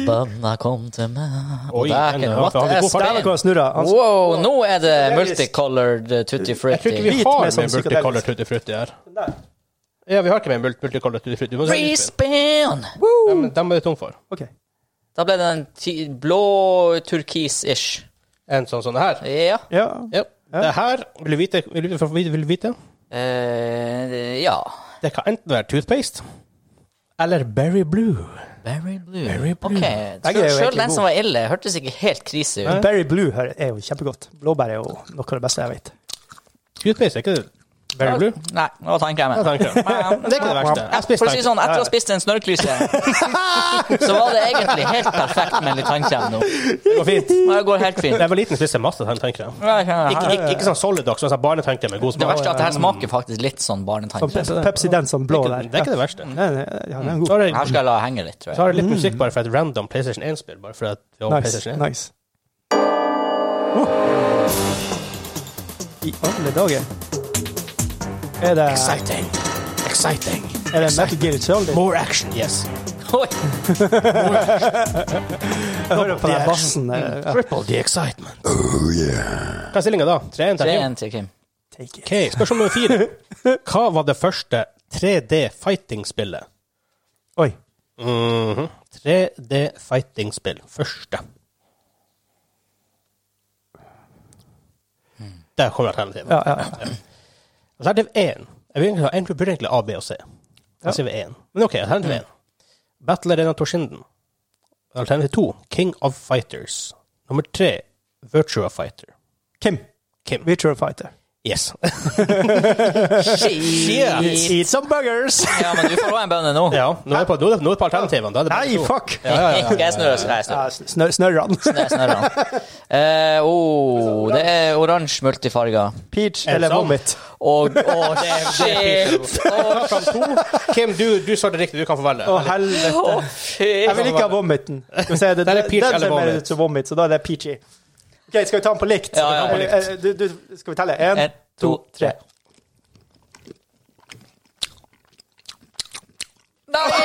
Speaker 4: Bønna kom til meg
Speaker 2: Oi,
Speaker 4: Der,
Speaker 2: den-
Speaker 4: What
Speaker 2: har vi
Speaker 4: er
Speaker 2: god fart?
Speaker 4: stein?
Speaker 3: Hva snurra? Han
Speaker 2: Altså,
Speaker 4: Wow, nå er det multicolored eh, tutti
Speaker 2: Jeg tror ikke
Speaker 4: frutti.
Speaker 2: vi
Speaker 3: Hvit
Speaker 2: har
Speaker 3: med
Speaker 2: med
Speaker 3: sånn
Speaker 2: multicolor
Speaker 3: psykedelisk.
Speaker 2: tutti frutti her.
Speaker 3: Nei.
Speaker 2: Ja, vi har ikke med mult- multicolor tutti frutti. men så er det utspill.
Speaker 4: Respin!
Speaker 2: Dem, dem er du tung for.
Speaker 3: OK.
Speaker 4: Da ble det en ti- blå turkis-ish.
Speaker 2: En sånn sånn her.
Speaker 4: Ja.
Speaker 3: Ja.
Speaker 2: Ja. Det her vil du vite, vil du, vil du vite?
Speaker 4: Eh, ja.
Speaker 2: Det kan enten være toothpaste eller Berry Blue.
Speaker 4: Berry blue.
Speaker 2: blue.
Speaker 4: Ok,
Speaker 3: er jo
Speaker 4: Sjøl
Speaker 3: egentlig
Speaker 4: den
Speaker 3: god.
Speaker 4: som var ille, hørtes ikke helt krise ut.
Speaker 3: Berry Blue her er jo kjempegodt. Blåbær er jo noe av det beste jeg vet.
Speaker 2: Toothpaste, er ikke det? Berry Blue?
Speaker 4: Nei, det var tannkremen.
Speaker 2: Jeg tenker det. Det er ikke det verste. Jeg
Speaker 4: For å si
Speaker 2: spiste
Speaker 4: det sånn, etter å ha spist en snørrklyse, så var det egentlig helt perfekt med litt tannkrem nå.
Speaker 2: Det går fint.
Speaker 4: Men Det går helt
Speaker 2: Da
Speaker 4: fint.
Speaker 2: jeg var liten, spiste jeg masse tannkrem.
Speaker 4: Ja, jeg kjenner det.
Speaker 2: Ikke, ikke, ikke sånn solid dock, sånn som barnetannkrem med god
Speaker 4: Det
Speaker 2: smak.
Speaker 4: verste er at det her smaker faktisk litt sånn
Speaker 3: Og
Speaker 4: barnetannkrem.
Speaker 3: Pe- Pepsi den som blå
Speaker 2: Det
Speaker 3: der.
Speaker 2: er ikke det verste.
Speaker 4: Mm.
Speaker 3: Nei, nei, ja, den er god.
Speaker 2: Så har jeg,
Speaker 4: Her skal jeg la henge litt, tror
Speaker 2: så
Speaker 4: jeg.
Speaker 2: har jeg litt musikk bare for et random PlayStation 1-spill. Bare for at vi har
Speaker 3: Mm. Nice.
Speaker 2: PlayStation 1.
Speaker 3: nice. Oh. I alle dager. Er det,
Speaker 2: Exciting. Exciting.
Speaker 3: er det Metal Gear Solid?
Speaker 2: More action. Yes.
Speaker 4: Oi,
Speaker 3: Jeg hører på den
Speaker 2: Yes. Mm.
Speaker 3: bassen. eh, Ja.
Speaker 2: Triple the excitement. Oh, yeah. Hva er stillinga da? 3-1
Speaker 4: det
Speaker 2: til
Speaker 4: er
Speaker 2: Kim?
Speaker 4: en til Kim.
Speaker 3: Take it.
Speaker 2: OK, spørsmål nummer fire. Hva var det første 3D-fighting-spillet?
Speaker 3: Oi.
Speaker 2: Mhm. 3D-fighting-spill. Første. Der kommer alternativet.
Speaker 3: Ja, ja. ja.
Speaker 2: Alternativ 1. Jeg vil egentlig ha en burde egentlig A, B og C. Da sier vi 1. Men OK, alternativ 1. Battle Arena Toshinden. Alternativ 2. King of Fighters. Nummer 3. Virtua Fighter.
Speaker 3: Kim.
Speaker 2: Kim.
Speaker 3: Virtual Fighter.
Speaker 2: Yes.
Speaker 4: Shit.
Speaker 3: Eat some burgers!
Speaker 4: Ja, men du får også en bønne nå.
Speaker 2: ja, nå er det på, nå er det- nå er det på alternativene. Da er det bare
Speaker 3: Nei,
Speaker 2: to.
Speaker 3: fuck!
Speaker 2: Ja, ja, ja.
Speaker 4: Skal jeg snurre, så skal jeg snurre.
Speaker 3: Ja, snør- Snørran.
Speaker 4: Jeg snurrer han. Eh, oh, det er oransje multifarger.
Speaker 3: Peach
Speaker 2: Er det
Speaker 3: eller
Speaker 2: sant?
Speaker 3: Vomit.
Speaker 4: Og oh, shit! Å,
Speaker 2: Fram to. Kim, du, du svarte riktig. Du kan få velge.
Speaker 3: Å, helvete. Jeg
Speaker 4: shit.
Speaker 3: vil ikke ha vomiten. Skal vi se, det,
Speaker 2: Der er peach
Speaker 3: den ser
Speaker 2: eller
Speaker 3: mer
Speaker 2: vomit.
Speaker 3: ut som vomit, så da er det peachy. Ok, Skal vi ta den på likt?
Speaker 4: Ja, ja, ja.
Speaker 3: Skal vi ta den på likt? Eh, Du, du, skal vi telle? Én,
Speaker 4: En,
Speaker 3: to,
Speaker 4: to,
Speaker 3: tre.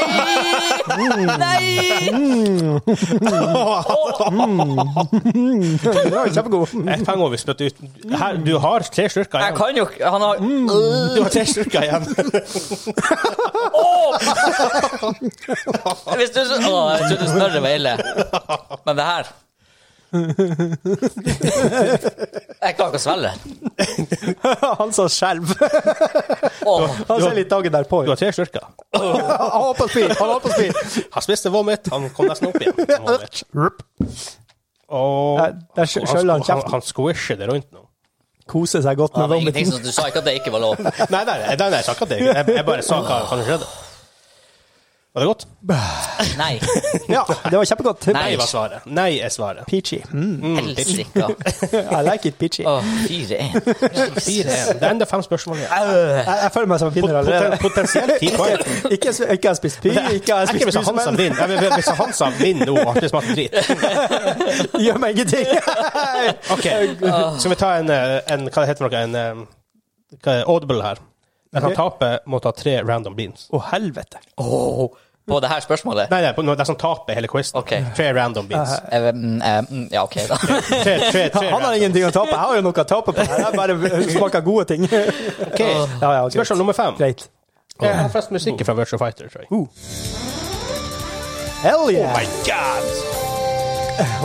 Speaker 4: Nei! Nei!
Speaker 3: Mm. Den var jo kjempegod.
Speaker 2: Ett poeng over spytt ut. Her, du har tre slurker
Speaker 4: Jeg
Speaker 2: igjen.
Speaker 4: kan jo ikke Han har
Speaker 2: Du har tre slurker igjen.
Speaker 4: Hvis du så- Å, jeg trodde snørret var ille. Men det her Jeg klarer ikke å svelge.
Speaker 3: Han sa skjelv.
Speaker 4: Åh,
Speaker 3: Han ser litt dagen derpå.
Speaker 2: Du har tre slurker.
Speaker 3: Han var på speed! Han var på speed.
Speaker 2: Han spiste vomit. Han kom nesten opp igjen. Vomit.
Speaker 3: Rup.
Speaker 2: Og
Speaker 3: Der- der skj- skjøller han kjeften.
Speaker 2: Han squisher det rundt nå.
Speaker 3: Koser seg godt
Speaker 4: det
Speaker 3: med
Speaker 4: var ingenting
Speaker 3: vomiten.
Speaker 4: som Du sa ikke at det ikke var lov.
Speaker 2: Nei, nei, nei, nei, jeg sa ikke at det. Jeg, jeg bare sa hva som skjedde. Var det godt?
Speaker 4: Nei.
Speaker 3: Ja, det var kjempegodt.
Speaker 4: Nei.
Speaker 2: Nei, var svaret. Nei er svaret.
Speaker 3: Peachy. Mm.
Speaker 4: Helsika.
Speaker 3: I like it peachy.
Speaker 4: Å, 4-1.
Speaker 2: 4-1. Det er enda fem spørsmål igjen.
Speaker 3: Jeg, jeg føler meg som en vinner
Speaker 2: Poten,
Speaker 3: allerede.
Speaker 2: potensielt ti poeng.
Speaker 3: Ikke, ikke har spist py, ikke har
Speaker 2: Jeg er ikke
Speaker 3: spist
Speaker 2: hvis Hansa
Speaker 3: pusmenn.
Speaker 2: vinner. Jeg vil- Hvis Hansa vinner nå, har det smakt drit.
Speaker 3: Gjør meg ingenting.
Speaker 2: Ok, skal vi ta en, eh, en Hva det heter det for noe? En eh, hva er det? audible her. Den som
Speaker 3: Ok.
Speaker 2: taper, må ta tre random beans.
Speaker 3: Å, helvete.
Speaker 4: Åh, På det her spørsmålet?
Speaker 2: Nei, nei, på- den som taper hele quizen.
Speaker 4: Ok.
Speaker 2: Tre random beans.
Speaker 4: Eh, mm, eh, mm, ja, OK, da.
Speaker 2: Tre, tre, tre,
Speaker 3: Han har
Speaker 2: random.
Speaker 3: ingenting å tape. Jeg har jo noe å tape på. Jeg bare smaker gode ting.
Speaker 2: Ok,
Speaker 3: Ja, ja, greit.
Speaker 2: Spørsmål nummer fem.
Speaker 3: Greit.
Speaker 2: Jeg har flest musikk fra Virtual Fighter, tror
Speaker 3: Oh
Speaker 2: jeg.
Speaker 3: Hell
Speaker 2: Oh my
Speaker 3: yeah!
Speaker 2: god!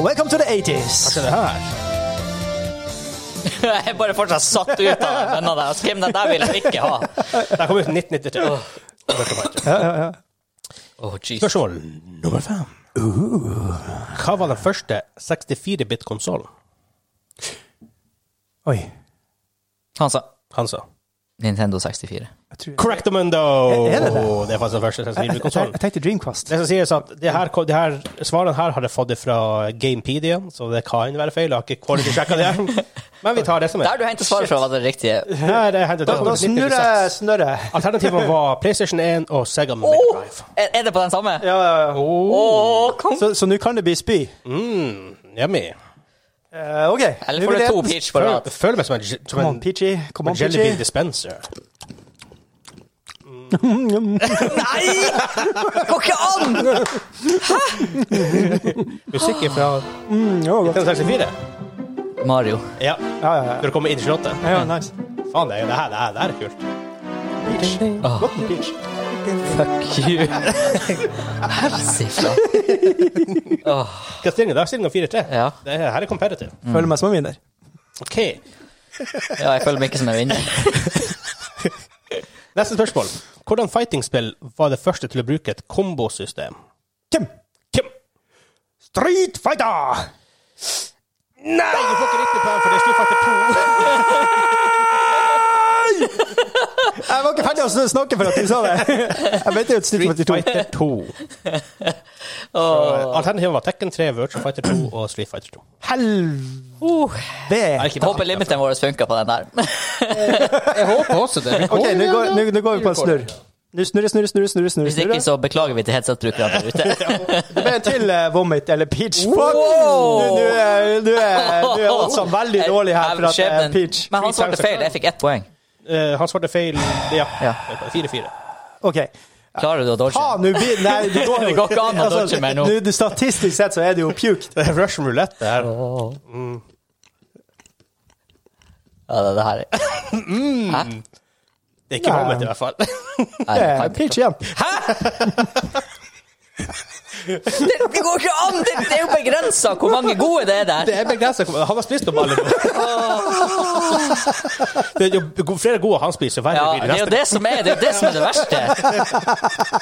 Speaker 3: Welcome to the 80s.
Speaker 2: Se det her.
Speaker 4: Jeg er bare fortsatt satt ut av denne der. Altså, Kim, den der vil jeg ikke ha.
Speaker 2: Den kom ut i 1993. Virtual Fighter.
Speaker 4: Åh, jeez.
Speaker 2: Spørsmål nummer fem.
Speaker 3: Uh-huh.
Speaker 2: Hva var den første 64-bit-konsollen?
Speaker 3: Oi.
Speaker 4: Han sa
Speaker 2: Han sa.
Speaker 4: Nintendo 64.
Speaker 3: Jeg, tror,
Speaker 2: Correctamundo!
Speaker 3: Er det det?
Speaker 2: Det er faktisk den første
Speaker 3: jeg, jeg,
Speaker 2: 64-bit-konsollen.
Speaker 3: jeg tenkte Dreamcast.
Speaker 2: Det som sies at det her, det her, Svarene her har jeg fått fra Gamepedia, så det kan være feil. Jeg har ikke quality-sjekka det. her. Men vi tar det som
Speaker 4: Der
Speaker 2: er.
Speaker 4: du henter svaret fra, var det riktige.
Speaker 2: Her er hentet
Speaker 3: Da, da snurrer snurrer.
Speaker 2: Alternativene var PlayStation 1 og Sega Mega Drive.
Speaker 4: Er, er det på den samme?
Speaker 3: Ja, ja, ja.
Speaker 4: Åh, kom.
Speaker 3: Så så nå kan det bli spy.
Speaker 2: Mm, yummy.
Speaker 3: Eh, OK.
Speaker 4: Eller
Speaker 3: Nå
Speaker 4: får du
Speaker 3: blir det-
Speaker 4: to peach på
Speaker 2: Føler,
Speaker 4: rad?
Speaker 2: føler meg som en, som
Speaker 3: Come
Speaker 2: en,
Speaker 3: on, Peachy. Come on,
Speaker 2: en jelly bean
Speaker 3: Peachy.
Speaker 2: dispenser.
Speaker 4: Nei! Det går ikke an!
Speaker 2: Musikk fra
Speaker 3: Mm, jo, godt.
Speaker 2: 1964.
Speaker 4: Mario.
Speaker 2: Ja,
Speaker 3: Ja, ja, ja.
Speaker 2: når det kommer inn til slottet.
Speaker 3: Ja, ja, nice.
Speaker 2: Faen, det, er- det, her, det, her, det her er kult.
Speaker 3: Peach.
Speaker 4: Ah.
Speaker 3: Godt med peach.
Speaker 4: Fuck you. Helsifra.
Speaker 2: Hva er stillingen? Det er stillingen 4-3.
Speaker 4: Ja.
Speaker 2: Det her- her er competitive.
Speaker 3: Føler meg som en vinner.
Speaker 2: OK.
Speaker 4: ja, jeg føler meg ikke som en vinner.
Speaker 2: Neste spørsmål. Hvordan fighting-spill var det første til å bruke et kombosystem?
Speaker 3: Kim.
Speaker 2: Kim.
Speaker 3: Street Fighter!
Speaker 2: Nei, du får ikke riktig poeng, for det er Street Fighter 2.
Speaker 3: Jeg var ikke ferdig å sn- snakke for at du sa det. Jeg vet jo et stykke
Speaker 2: Street
Speaker 3: 42.
Speaker 2: Fighter 2.
Speaker 4: Åh.
Speaker 2: Alternativet var Tekken 3, Virtual Fighter 2 og Street Fighter 2.
Speaker 3: Helvete!
Speaker 4: Jeg håper limiten vår funka på den der.
Speaker 2: Jeg håper også det.
Speaker 3: OK, nå går, nå- nå går vi på en snurr. Nå snurrer, snurrer, snurrer, snurrer. snurrer,
Speaker 4: Hvis ikke,
Speaker 3: snurrer.
Speaker 4: så beklager vi til headset-brukerne der ute.
Speaker 3: Det ble en til eh, vomit eller peach. Fuck!
Speaker 4: Wow!
Speaker 3: Du er du er- du er altså veldig dårlig her for at det er
Speaker 4: Skjebnen.
Speaker 3: peach.
Speaker 4: Men han svarte feil. Jeg fikk ett poeng.
Speaker 2: Eh, han svarte feil. Ja.
Speaker 4: Ja.
Speaker 2: 4-4.
Speaker 3: OK.
Speaker 4: Klarer du å dodge?
Speaker 3: Faen, nå blir Nei, det går jo
Speaker 4: Det går ikke an å
Speaker 3: Altså,
Speaker 4: dodge meg nå.
Speaker 3: du- du- Statistisk sett så er det jo puke.
Speaker 2: Det er Russian roulette, det her.
Speaker 4: Ja, det, det her er Hæ?
Speaker 2: Det er ikke
Speaker 3: Nei.
Speaker 2: vommet, i hvert fall.
Speaker 4: Nei,
Speaker 3: Det er
Speaker 4: kan-
Speaker 3: Eh, Peach igjen.
Speaker 4: Det, det går ikke an! Det, det er jo begrensa hvor mange gode det er der.
Speaker 2: Det er begrenset. Han har spist opp alle. det er jo flere gode han spiser, jo
Speaker 4: Ja,
Speaker 2: verre blir
Speaker 4: det er
Speaker 2: det
Speaker 4: jo
Speaker 2: neste.
Speaker 4: det som er det, er jo det, som er det verste.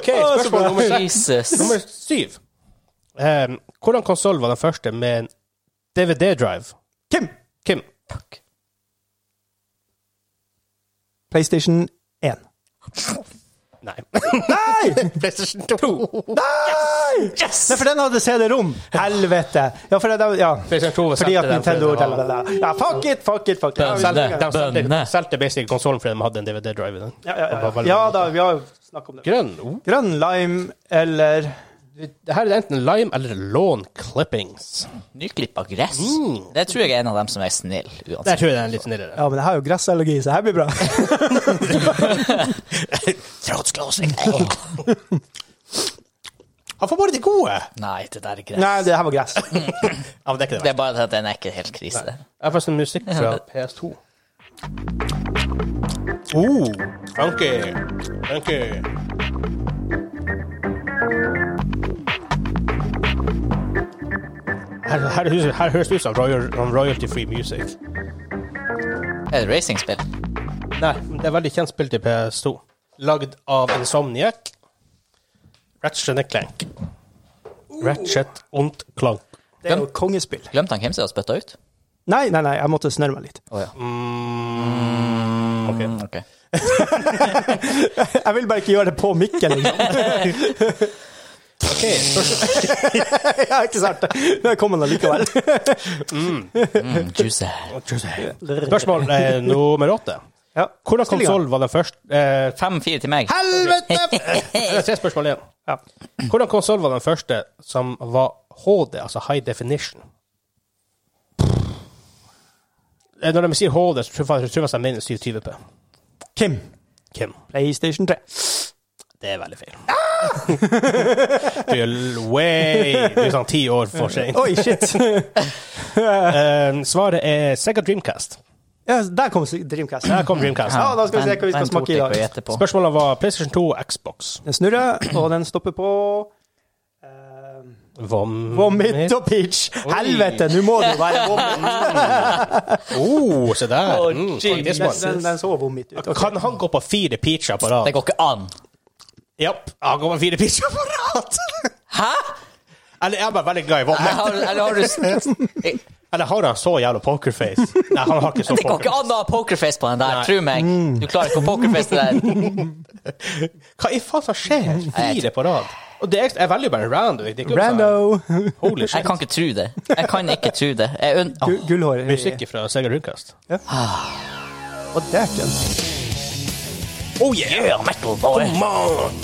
Speaker 2: Ok, spørsmål nummer seks.
Speaker 4: Jesus.
Speaker 2: Nummer syv. Eh, hvordan konsoll var den første med en DVD-drive?
Speaker 3: Kim.
Speaker 2: Kim.
Speaker 3: PlayStation 1.
Speaker 2: Nei.
Speaker 3: Nei!
Speaker 2: PlayStation 2.
Speaker 3: Nei!
Speaker 4: Yes!
Speaker 3: Nei, for den hadde CD-rom. Helvete. Ja, for det, ja.
Speaker 2: PlayStation 2 var
Speaker 3: Fordi at
Speaker 2: solgte den
Speaker 3: Nintendo
Speaker 2: fordi den
Speaker 3: da, da, da. Ja, fuck it, fuck it, fuck it. Ja,
Speaker 4: Bønne.
Speaker 2: hadde- De solgte-
Speaker 4: Bønne.
Speaker 2: de solgte basic konsollen fordi de hadde en DVD-drive i den.
Speaker 3: ja, ja, ja. ja da, vi har jo snakket om det.
Speaker 2: Grønn. Oh.
Speaker 3: Grønn lime eller
Speaker 2: Det her er enten lime eller lawn clippings.
Speaker 4: Nyklippa gress. Det tror jeg er en av dem som er snill,
Speaker 2: Der
Speaker 4: uansett.
Speaker 2: tror jeg den er litt snillere.
Speaker 3: Ja, men jeg har jo gressallergi, så her blir bra.
Speaker 4: Trådsklåsing.
Speaker 2: Han får bare de gode!
Speaker 4: Nei, det der er gress.
Speaker 3: Nei, det her var gress.
Speaker 2: Ja, men det er ikke det.
Speaker 4: Det er bare det at den er ikke helt krise.
Speaker 2: Jeg har faktisk en musikk fra PS2. Oh, funky, funky. Her, her, høres- her høres det ut som royal, royalty free music.
Speaker 4: Er det racingspill?
Speaker 2: Nei, men det er veldig kjent spill til PS2. Lagd av Insomniac. Ratchet and Clank. Ratchet und Clank.
Speaker 3: Det er jo kongespill.
Speaker 4: Glemte han hvem som har spytta ut?
Speaker 3: Nei, nei, nei, jeg måtte snørre meg litt.
Speaker 4: Å ja.
Speaker 2: Ok.
Speaker 4: Mm, Ok.
Speaker 3: Jeg vil bare ikke gjøre det på mikken, liksom.
Speaker 2: Ok, spørsmål.
Speaker 3: Ja, ikke sant? Nå kom han allikevel.
Speaker 4: Mm, juicy.
Speaker 2: spørsmål eh, nummer åtte.
Speaker 3: Ja.
Speaker 2: Hvordan konsoll var den første eh,
Speaker 4: Fem-fire til meg.
Speaker 2: Helvete! Det er tre spørsmål igjen.
Speaker 3: Ja.
Speaker 2: Hvordan konsoll var den første som var HD, altså high definition? Eh, Når de sier HD, så tror jeg- tror jeg de mener 720P.
Speaker 3: Kim.
Speaker 2: Kim.
Speaker 3: PlayStation 3.
Speaker 2: Det er veldig feil. du er way Du er sånn ti år for sent.
Speaker 3: Oi, shit.
Speaker 2: Eh, svaret er Sega Dreamcast.
Speaker 3: Ja, der kom Dreamcast.
Speaker 2: Der kom Dreamcast.
Speaker 3: Ja, da skal vi se hva vi skal
Speaker 4: Den- den
Speaker 3: smake
Speaker 4: tok
Speaker 3: i
Speaker 4: jeg
Speaker 3: dag.
Speaker 4: ikke å gjette på.
Speaker 2: Spørsmålet var PlayStation 2 og Xbox.
Speaker 3: Den snurrer, og den stopper på eh,
Speaker 2: Vom...
Speaker 3: Vomit og peach. Helvete, nå må det jo være vomit.
Speaker 2: Oh, se der.
Speaker 4: Oh,
Speaker 2: Mm,
Speaker 4: Jesus.
Speaker 2: smart.
Speaker 3: Den, den så vomit ut. Ok.
Speaker 2: Kan han gå på fire pitcher på rad?
Speaker 4: Det går ikke an.
Speaker 2: Japp, han går på fire pitcher på rad.
Speaker 4: Hæ?
Speaker 2: Eller jeg er bare veldig glad i våpen.
Speaker 4: Jeg har, eller har du s- Jeg-
Speaker 2: Eller har han så jævla pokerface? Nei, han har ikke så
Speaker 4: Det går ikke
Speaker 2: pokerface.
Speaker 4: an å ha pokerface på den der, tro meg.
Speaker 3: Mm.
Speaker 4: Du klarer ikke å pokerface det der.
Speaker 2: Hva i faen som skjer? Fire på rad. Og det er, jeg velger bare random. Det er ikke sånn-
Speaker 3: Rando.
Speaker 2: Holy
Speaker 4: Jeg
Speaker 2: shit.
Speaker 4: kan ikke tro det. Jeg kan ikke tro det. Jeg unn... Åh.
Speaker 3: Gu- Gullhår.
Speaker 2: Musikk fra Sega Rundkast.
Speaker 3: Og dæken.
Speaker 2: Oh yeah! metal boy! Come on!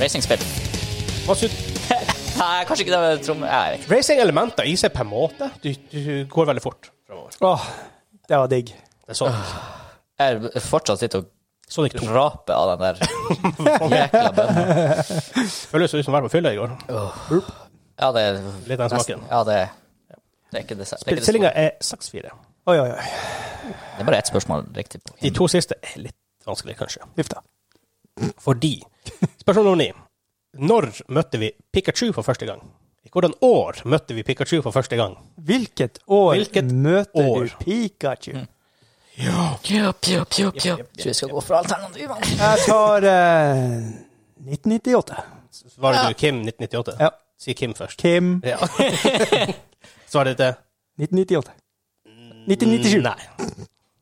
Speaker 4: Racingspill.
Speaker 2: Hva syns-
Speaker 4: Nei, kanskje ikke det med tromme... Nei, Jeg vet ikke.
Speaker 2: Racing-elementer i seg på en måte. Du, du går veldig fort fremover.
Speaker 3: Åh, det var digg.
Speaker 2: Det er sånn.
Speaker 4: Ah. Jeg fortsatt sitter og
Speaker 2: Sonic 2.
Speaker 4: raper av den der jækla bønnen.
Speaker 2: Føles ut som å være på fylla i går.
Speaker 4: Ja, det er
Speaker 2: Litt av den smaken.
Speaker 4: Ja, det er det er ikke det det er ikke det store.
Speaker 2: Stillinga er 6-4.
Speaker 3: Oi, oi, oi.
Speaker 4: Det er bare ett spørsmål riktig på.
Speaker 2: De to siste er litt vanskelig, kanskje.
Speaker 3: Huff da.
Speaker 2: Fordi Spørsmål nummer ni. Når møtte vi Pikachu for første gang? I hvordan år møtte vi Pikachu for første gang?
Speaker 3: Hvilket år
Speaker 2: Hvilket
Speaker 3: møter
Speaker 2: år? Hmm.
Speaker 3: du Pikachu?
Speaker 4: Pjo, pjo, pjo, pjo. Tror vi skal gå for alternativene.
Speaker 3: Jeg tar eh, 1998.
Speaker 2: Svarer du Kim 1998?
Speaker 3: Ja.
Speaker 2: Si Kim først.
Speaker 3: Kim
Speaker 2: Ja. Svarer du til
Speaker 3: 1998. 1997.
Speaker 2: Nei.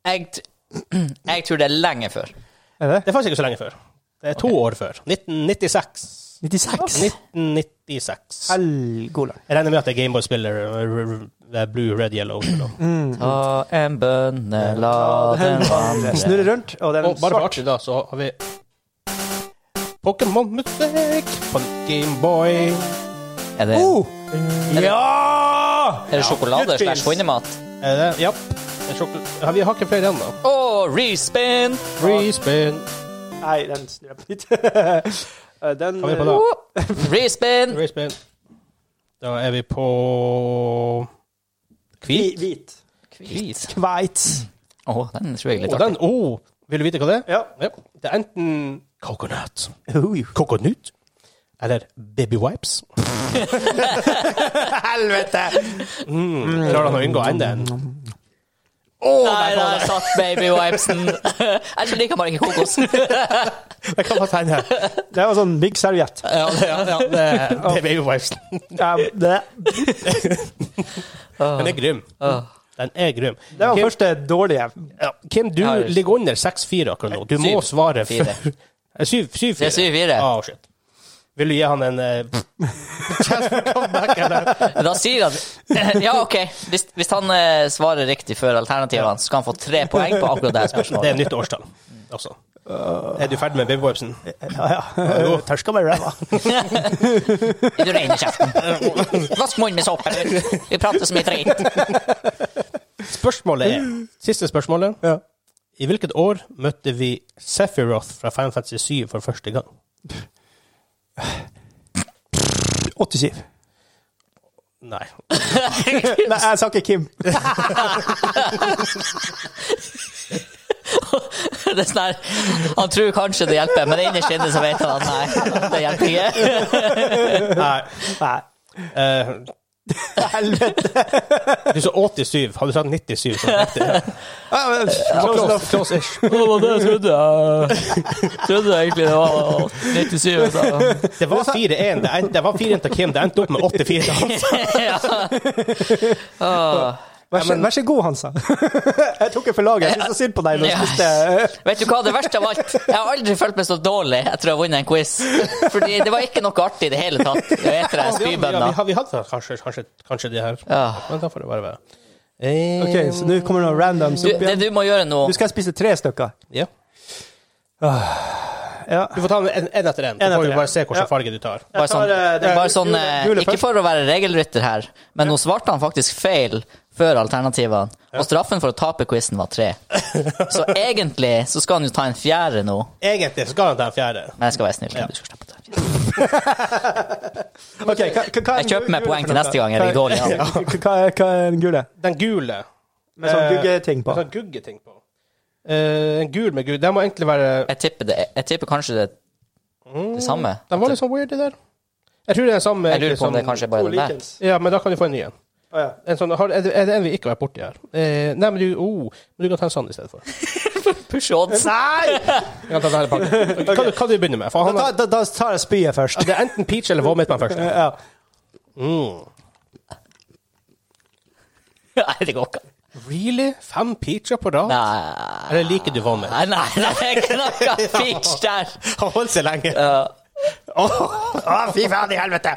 Speaker 4: Jeg, tr- jeg tror det er lenge før.
Speaker 3: Er det?
Speaker 2: Det er faktisk ikke så lenge før. Det er to år før. 1996.
Speaker 3: 96.
Speaker 2: 1996.
Speaker 3: Helgoland.
Speaker 2: Jeg regner med at det er Gameboy-spiller r- r- r- Blue, Red, Yellow. yellow.
Speaker 4: Ta en bønne, la den vandre
Speaker 3: Jeg snurrer rundt, og den
Speaker 2: Og bare for
Speaker 3: svart.
Speaker 2: artig, da, så har vi Pokémon-musikk på Gameboy.
Speaker 4: Er det,
Speaker 3: Oh!
Speaker 2: Ja!
Speaker 4: er det sjokolade
Speaker 2: Goodfields.
Speaker 4: slash hundemat?
Speaker 2: Er det? Ja. Det er sjokol- Ja, vi har ikke flere igjen, da.
Speaker 4: Å, respin!
Speaker 2: Respin.
Speaker 3: Nei, den snurrer på nytt. Eh, den
Speaker 2: Hva er vi på da?
Speaker 4: Respin!
Speaker 2: Respin. Da er vi på
Speaker 3: Hvi-
Speaker 2: Hvit.
Speaker 3: Hvit.
Speaker 4: Kvis.
Speaker 3: Hvit.
Speaker 4: Å, den tror jeg er litt
Speaker 2: Og
Speaker 4: artig.
Speaker 2: den oh, Vil du vite hva det er?
Speaker 3: Ja.
Speaker 2: Det er enten coconut,
Speaker 3: Oi.
Speaker 2: coconut eller baby wipes. Helvete! Mm, klarer han å unngå enda en?
Speaker 4: Nei, der satt babywipesen. Jeg tror liker bare ikke kokos.
Speaker 2: Det kan godt hende.
Speaker 3: Det var sånn big serviett.
Speaker 2: Ja, det, ja, ja, det, det er baby wipes.
Speaker 3: Ja, det,
Speaker 2: Den er grym. Den er grym.
Speaker 3: det var
Speaker 2: Kim-
Speaker 3: første dårlige.
Speaker 2: Ja, Kim, du
Speaker 4: Ja, det er-
Speaker 2: ligger under 6-4 akkurat nå. Du må
Speaker 4: Syv.
Speaker 2: svare
Speaker 4: Fire.
Speaker 2: før Eh, 7-4.
Speaker 4: Det er syv-fire.
Speaker 2: Ah, shit. Vil du gi han en eh, chance for comeback, eller?
Speaker 4: Da sier han Ja, OK. Hvis, hvis han eh, svarer riktig før alternativene, så skal han få tre poeng på akkurat det her
Speaker 2: Det er
Speaker 4: spørsmålet.
Speaker 2: nytt årstall også. Er du ferdig med babywipesen?
Speaker 3: Ja, ja. Tørska meg i ræva.
Speaker 4: Er du ren i kjeften? Vask munnen med såpe. Vi prater så mye dritt.
Speaker 2: Spørsmålet er Siste spørsmålet.
Speaker 3: Ja.
Speaker 2: I hvilket år møtte vi Sephiroth fra Final Fantasy 7 for første gang?
Speaker 3: 87.
Speaker 2: Nei.
Speaker 3: Nei, jeg sa ikke Kim.
Speaker 4: Det er sånn her Han tror kanskje det hjelper, men innerst inne så vet han at nei, det hjelper ikke.
Speaker 2: Nei.
Speaker 3: Nei.
Speaker 2: Eh,
Speaker 3: Helvete.
Speaker 2: du sa 87. Hadde du sagt 97, så var det riktig.
Speaker 3: Ja, men-
Speaker 2: Close, close ish.
Speaker 4: Det var det jeg trodde. Jeg trodde egentlig det var 97. Så.
Speaker 2: Det var 4-1. Det endte- Det var 4-1 til Kim. Det endte opp med 8-4.
Speaker 4: Ja. Åh.
Speaker 3: Vær så, vær så god, Hansa. jeg tok det for laget. Jeg syns så synd på deg. når du
Speaker 4: Ja.
Speaker 3: spiste
Speaker 4: Vet du hva, det verste av alt Jeg har aldri følt meg så dårlig etter å ha vunnet en quiz. Fordi det var ikke noe artig i det hele tatt. Det var etter jeg
Speaker 2: Ja, men ja, vi,
Speaker 4: spybønna.
Speaker 2: har- vi hadde kanskje, kanskje, kanskje de her.
Speaker 4: Ja.
Speaker 2: Men da får det bare være. Eh,
Speaker 3: OK, så nå kommer det noen randoms
Speaker 4: Du,
Speaker 3: opp
Speaker 4: det
Speaker 3: igjen.
Speaker 4: du må gjøre nå
Speaker 3: Nå skal jeg spise tre stykker.
Speaker 2: ja.
Speaker 3: Ja.
Speaker 2: Du får ta en, en etter en. Så får
Speaker 3: En etter
Speaker 2: vi
Speaker 3: en.
Speaker 2: bare se hvilken
Speaker 3: Ja.
Speaker 2: farge du tar.
Speaker 4: bare sånn,
Speaker 3: eh, det-
Speaker 4: bare sånn eh,
Speaker 3: gule- gule
Speaker 4: Ikke
Speaker 3: først.
Speaker 4: for å være regelrytter her, men nå svarte han faktisk feil før alternativene. Og straffen for å tape quizen var tre. Så egentlig så skal han jo ta en fjerde nå,
Speaker 2: Egentlig så skal han ta en fjerde.
Speaker 4: men jeg skal være snill. Du skal slippe å ta en fjerde.
Speaker 3: Ok, hva, hva, hva er
Speaker 4: Jeg kjøper
Speaker 3: en
Speaker 4: meg
Speaker 3: gule
Speaker 4: poeng
Speaker 3: for
Speaker 4: til
Speaker 3: noe?
Speaker 4: neste gang jeg ligger
Speaker 3: Hva-
Speaker 4: dårlig an.
Speaker 3: Ja. Hva, er- hva er en gule?
Speaker 2: Den gule.
Speaker 3: Med sånn guggeting på.
Speaker 2: Med sånn guggeting på. Eh, en gul med gul. Den må egentlig være
Speaker 4: Jeg tipper, det, jeg tipper kanskje det, det samme.
Speaker 2: Den var litt sånn weird, det der. Jeg sånn tror det er den samme.
Speaker 4: Jeg
Speaker 2: egentlig,
Speaker 4: lurer på
Speaker 2: som-
Speaker 4: om det kanskje er bare den der.
Speaker 2: Ja, men da kan du få en ny en.
Speaker 3: Å, ja.
Speaker 2: En sånn, har, er det er det en vi ikke har vært borti her? Eh, nei, men du, oh, men du kan ta en sånn i stedet for. Du
Speaker 4: Push odds.
Speaker 2: kan ta denne pakken. Hva, du- hva du begynner med? For
Speaker 3: Da,
Speaker 2: han
Speaker 3: da,
Speaker 2: har,
Speaker 3: da, da tar jeg spyet først.
Speaker 2: det er enten peach eller vomit man først.
Speaker 3: Ja.
Speaker 2: Mm.
Speaker 4: Nei, det går ikke.
Speaker 2: Really? Fem peacher på rad?
Speaker 4: Nei,
Speaker 2: Eller liker du vomit?
Speaker 4: nei, nei, nei jeg knakka pitch der.
Speaker 2: Han holdt seg lenge. fy faen i helvete!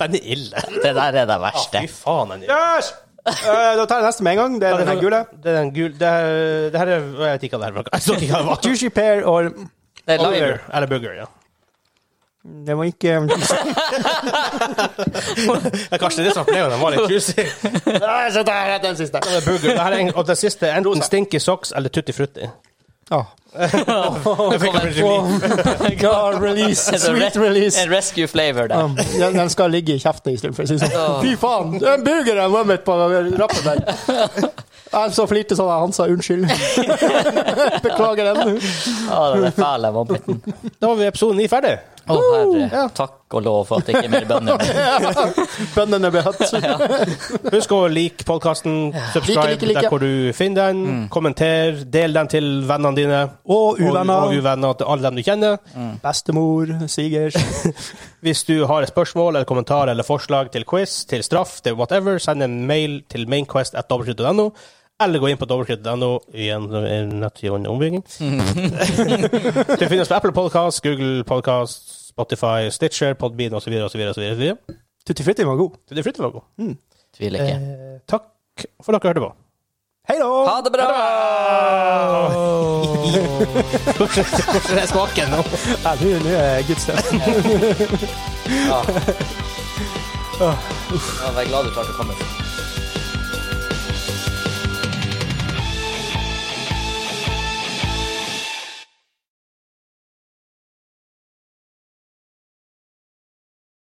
Speaker 2: Den er ille.
Speaker 4: Det der er det verste.
Speaker 2: Fy faen, den er ille.
Speaker 3: Yes! Eh, da tar jeg neste med en gang. Det er den gule.
Speaker 2: Det er den gule. Det, er- det her er Jeg vet ikke hva det her var. Jeg så ikke hva det var.
Speaker 3: Juicy pear og
Speaker 4: Det er live.
Speaker 2: Burger, Eller burger, ja.
Speaker 3: Det var ikke
Speaker 2: Det er kanskje det som er problemet, den var litt juicy. Nei, så der er den siste. Det er burger. Det her er en, og den siste er enten stinky socks eller tutti frutti.
Speaker 3: Ja.
Speaker 2: Det fikk jeg litt liv.
Speaker 3: God release.
Speaker 4: Det er
Speaker 3: Sweet
Speaker 4: res-
Speaker 3: release.
Speaker 4: En rescue flavor der.
Speaker 3: Um, den, den skal ligge i kjeften en stund, for å si det sånn.
Speaker 4: Ja.
Speaker 3: Fy faen! Den burgeren var midt på rappen der. Jeg så flirte sånn at han sa unnskyld. Beklager den.
Speaker 4: Å, den er fæl, den vannpitten.
Speaker 2: Da var vi i episode 9 ferdig.
Speaker 4: Å, herre. Takk og lov for at det ikke er mer bønder.
Speaker 3: Bøndene ble hatt.
Speaker 2: Husk å like podkasten, subscribe
Speaker 3: Like, Mm. like, like.
Speaker 2: der hvor du finner den, kommenter, del den til vennene dine.
Speaker 3: Og
Speaker 2: Og,
Speaker 3: uvenner.
Speaker 2: og uvenner til alle dem du kjenner.
Speaker 3: Mm. Bestemor, svigers.
Speaker 2: Hvis du har et spørsmål eller kommentar eller forslag til quiz, til straff, til whatever, send en mail til mainquest.no, eller gå inn på www.no igjen en nettside under ombygging.
Speaker 3: Mm.
Speaker 2: du finner oss på Apple Podcast, Google Podcast, Spotify, Stitcher, Podbean osv. osv. osv.
Speaker 3: Tutti Frutti var god.
Speaker 2: Det flytter vi på.
Speaker 4: Tviler ikke.
Speaker 2: Eh,
Speaker 3: Mm.
Speaker 2: takk for at dere hørte på.
Speaker 3: Hei da!
Speaker 4: Ha det bra!
Speaker 2: Hvordan er smaken nå?
Speaker 3: Ja, nå nå er jeg good stuff.
Speaker 4: Jeg var glad du klarte å komme.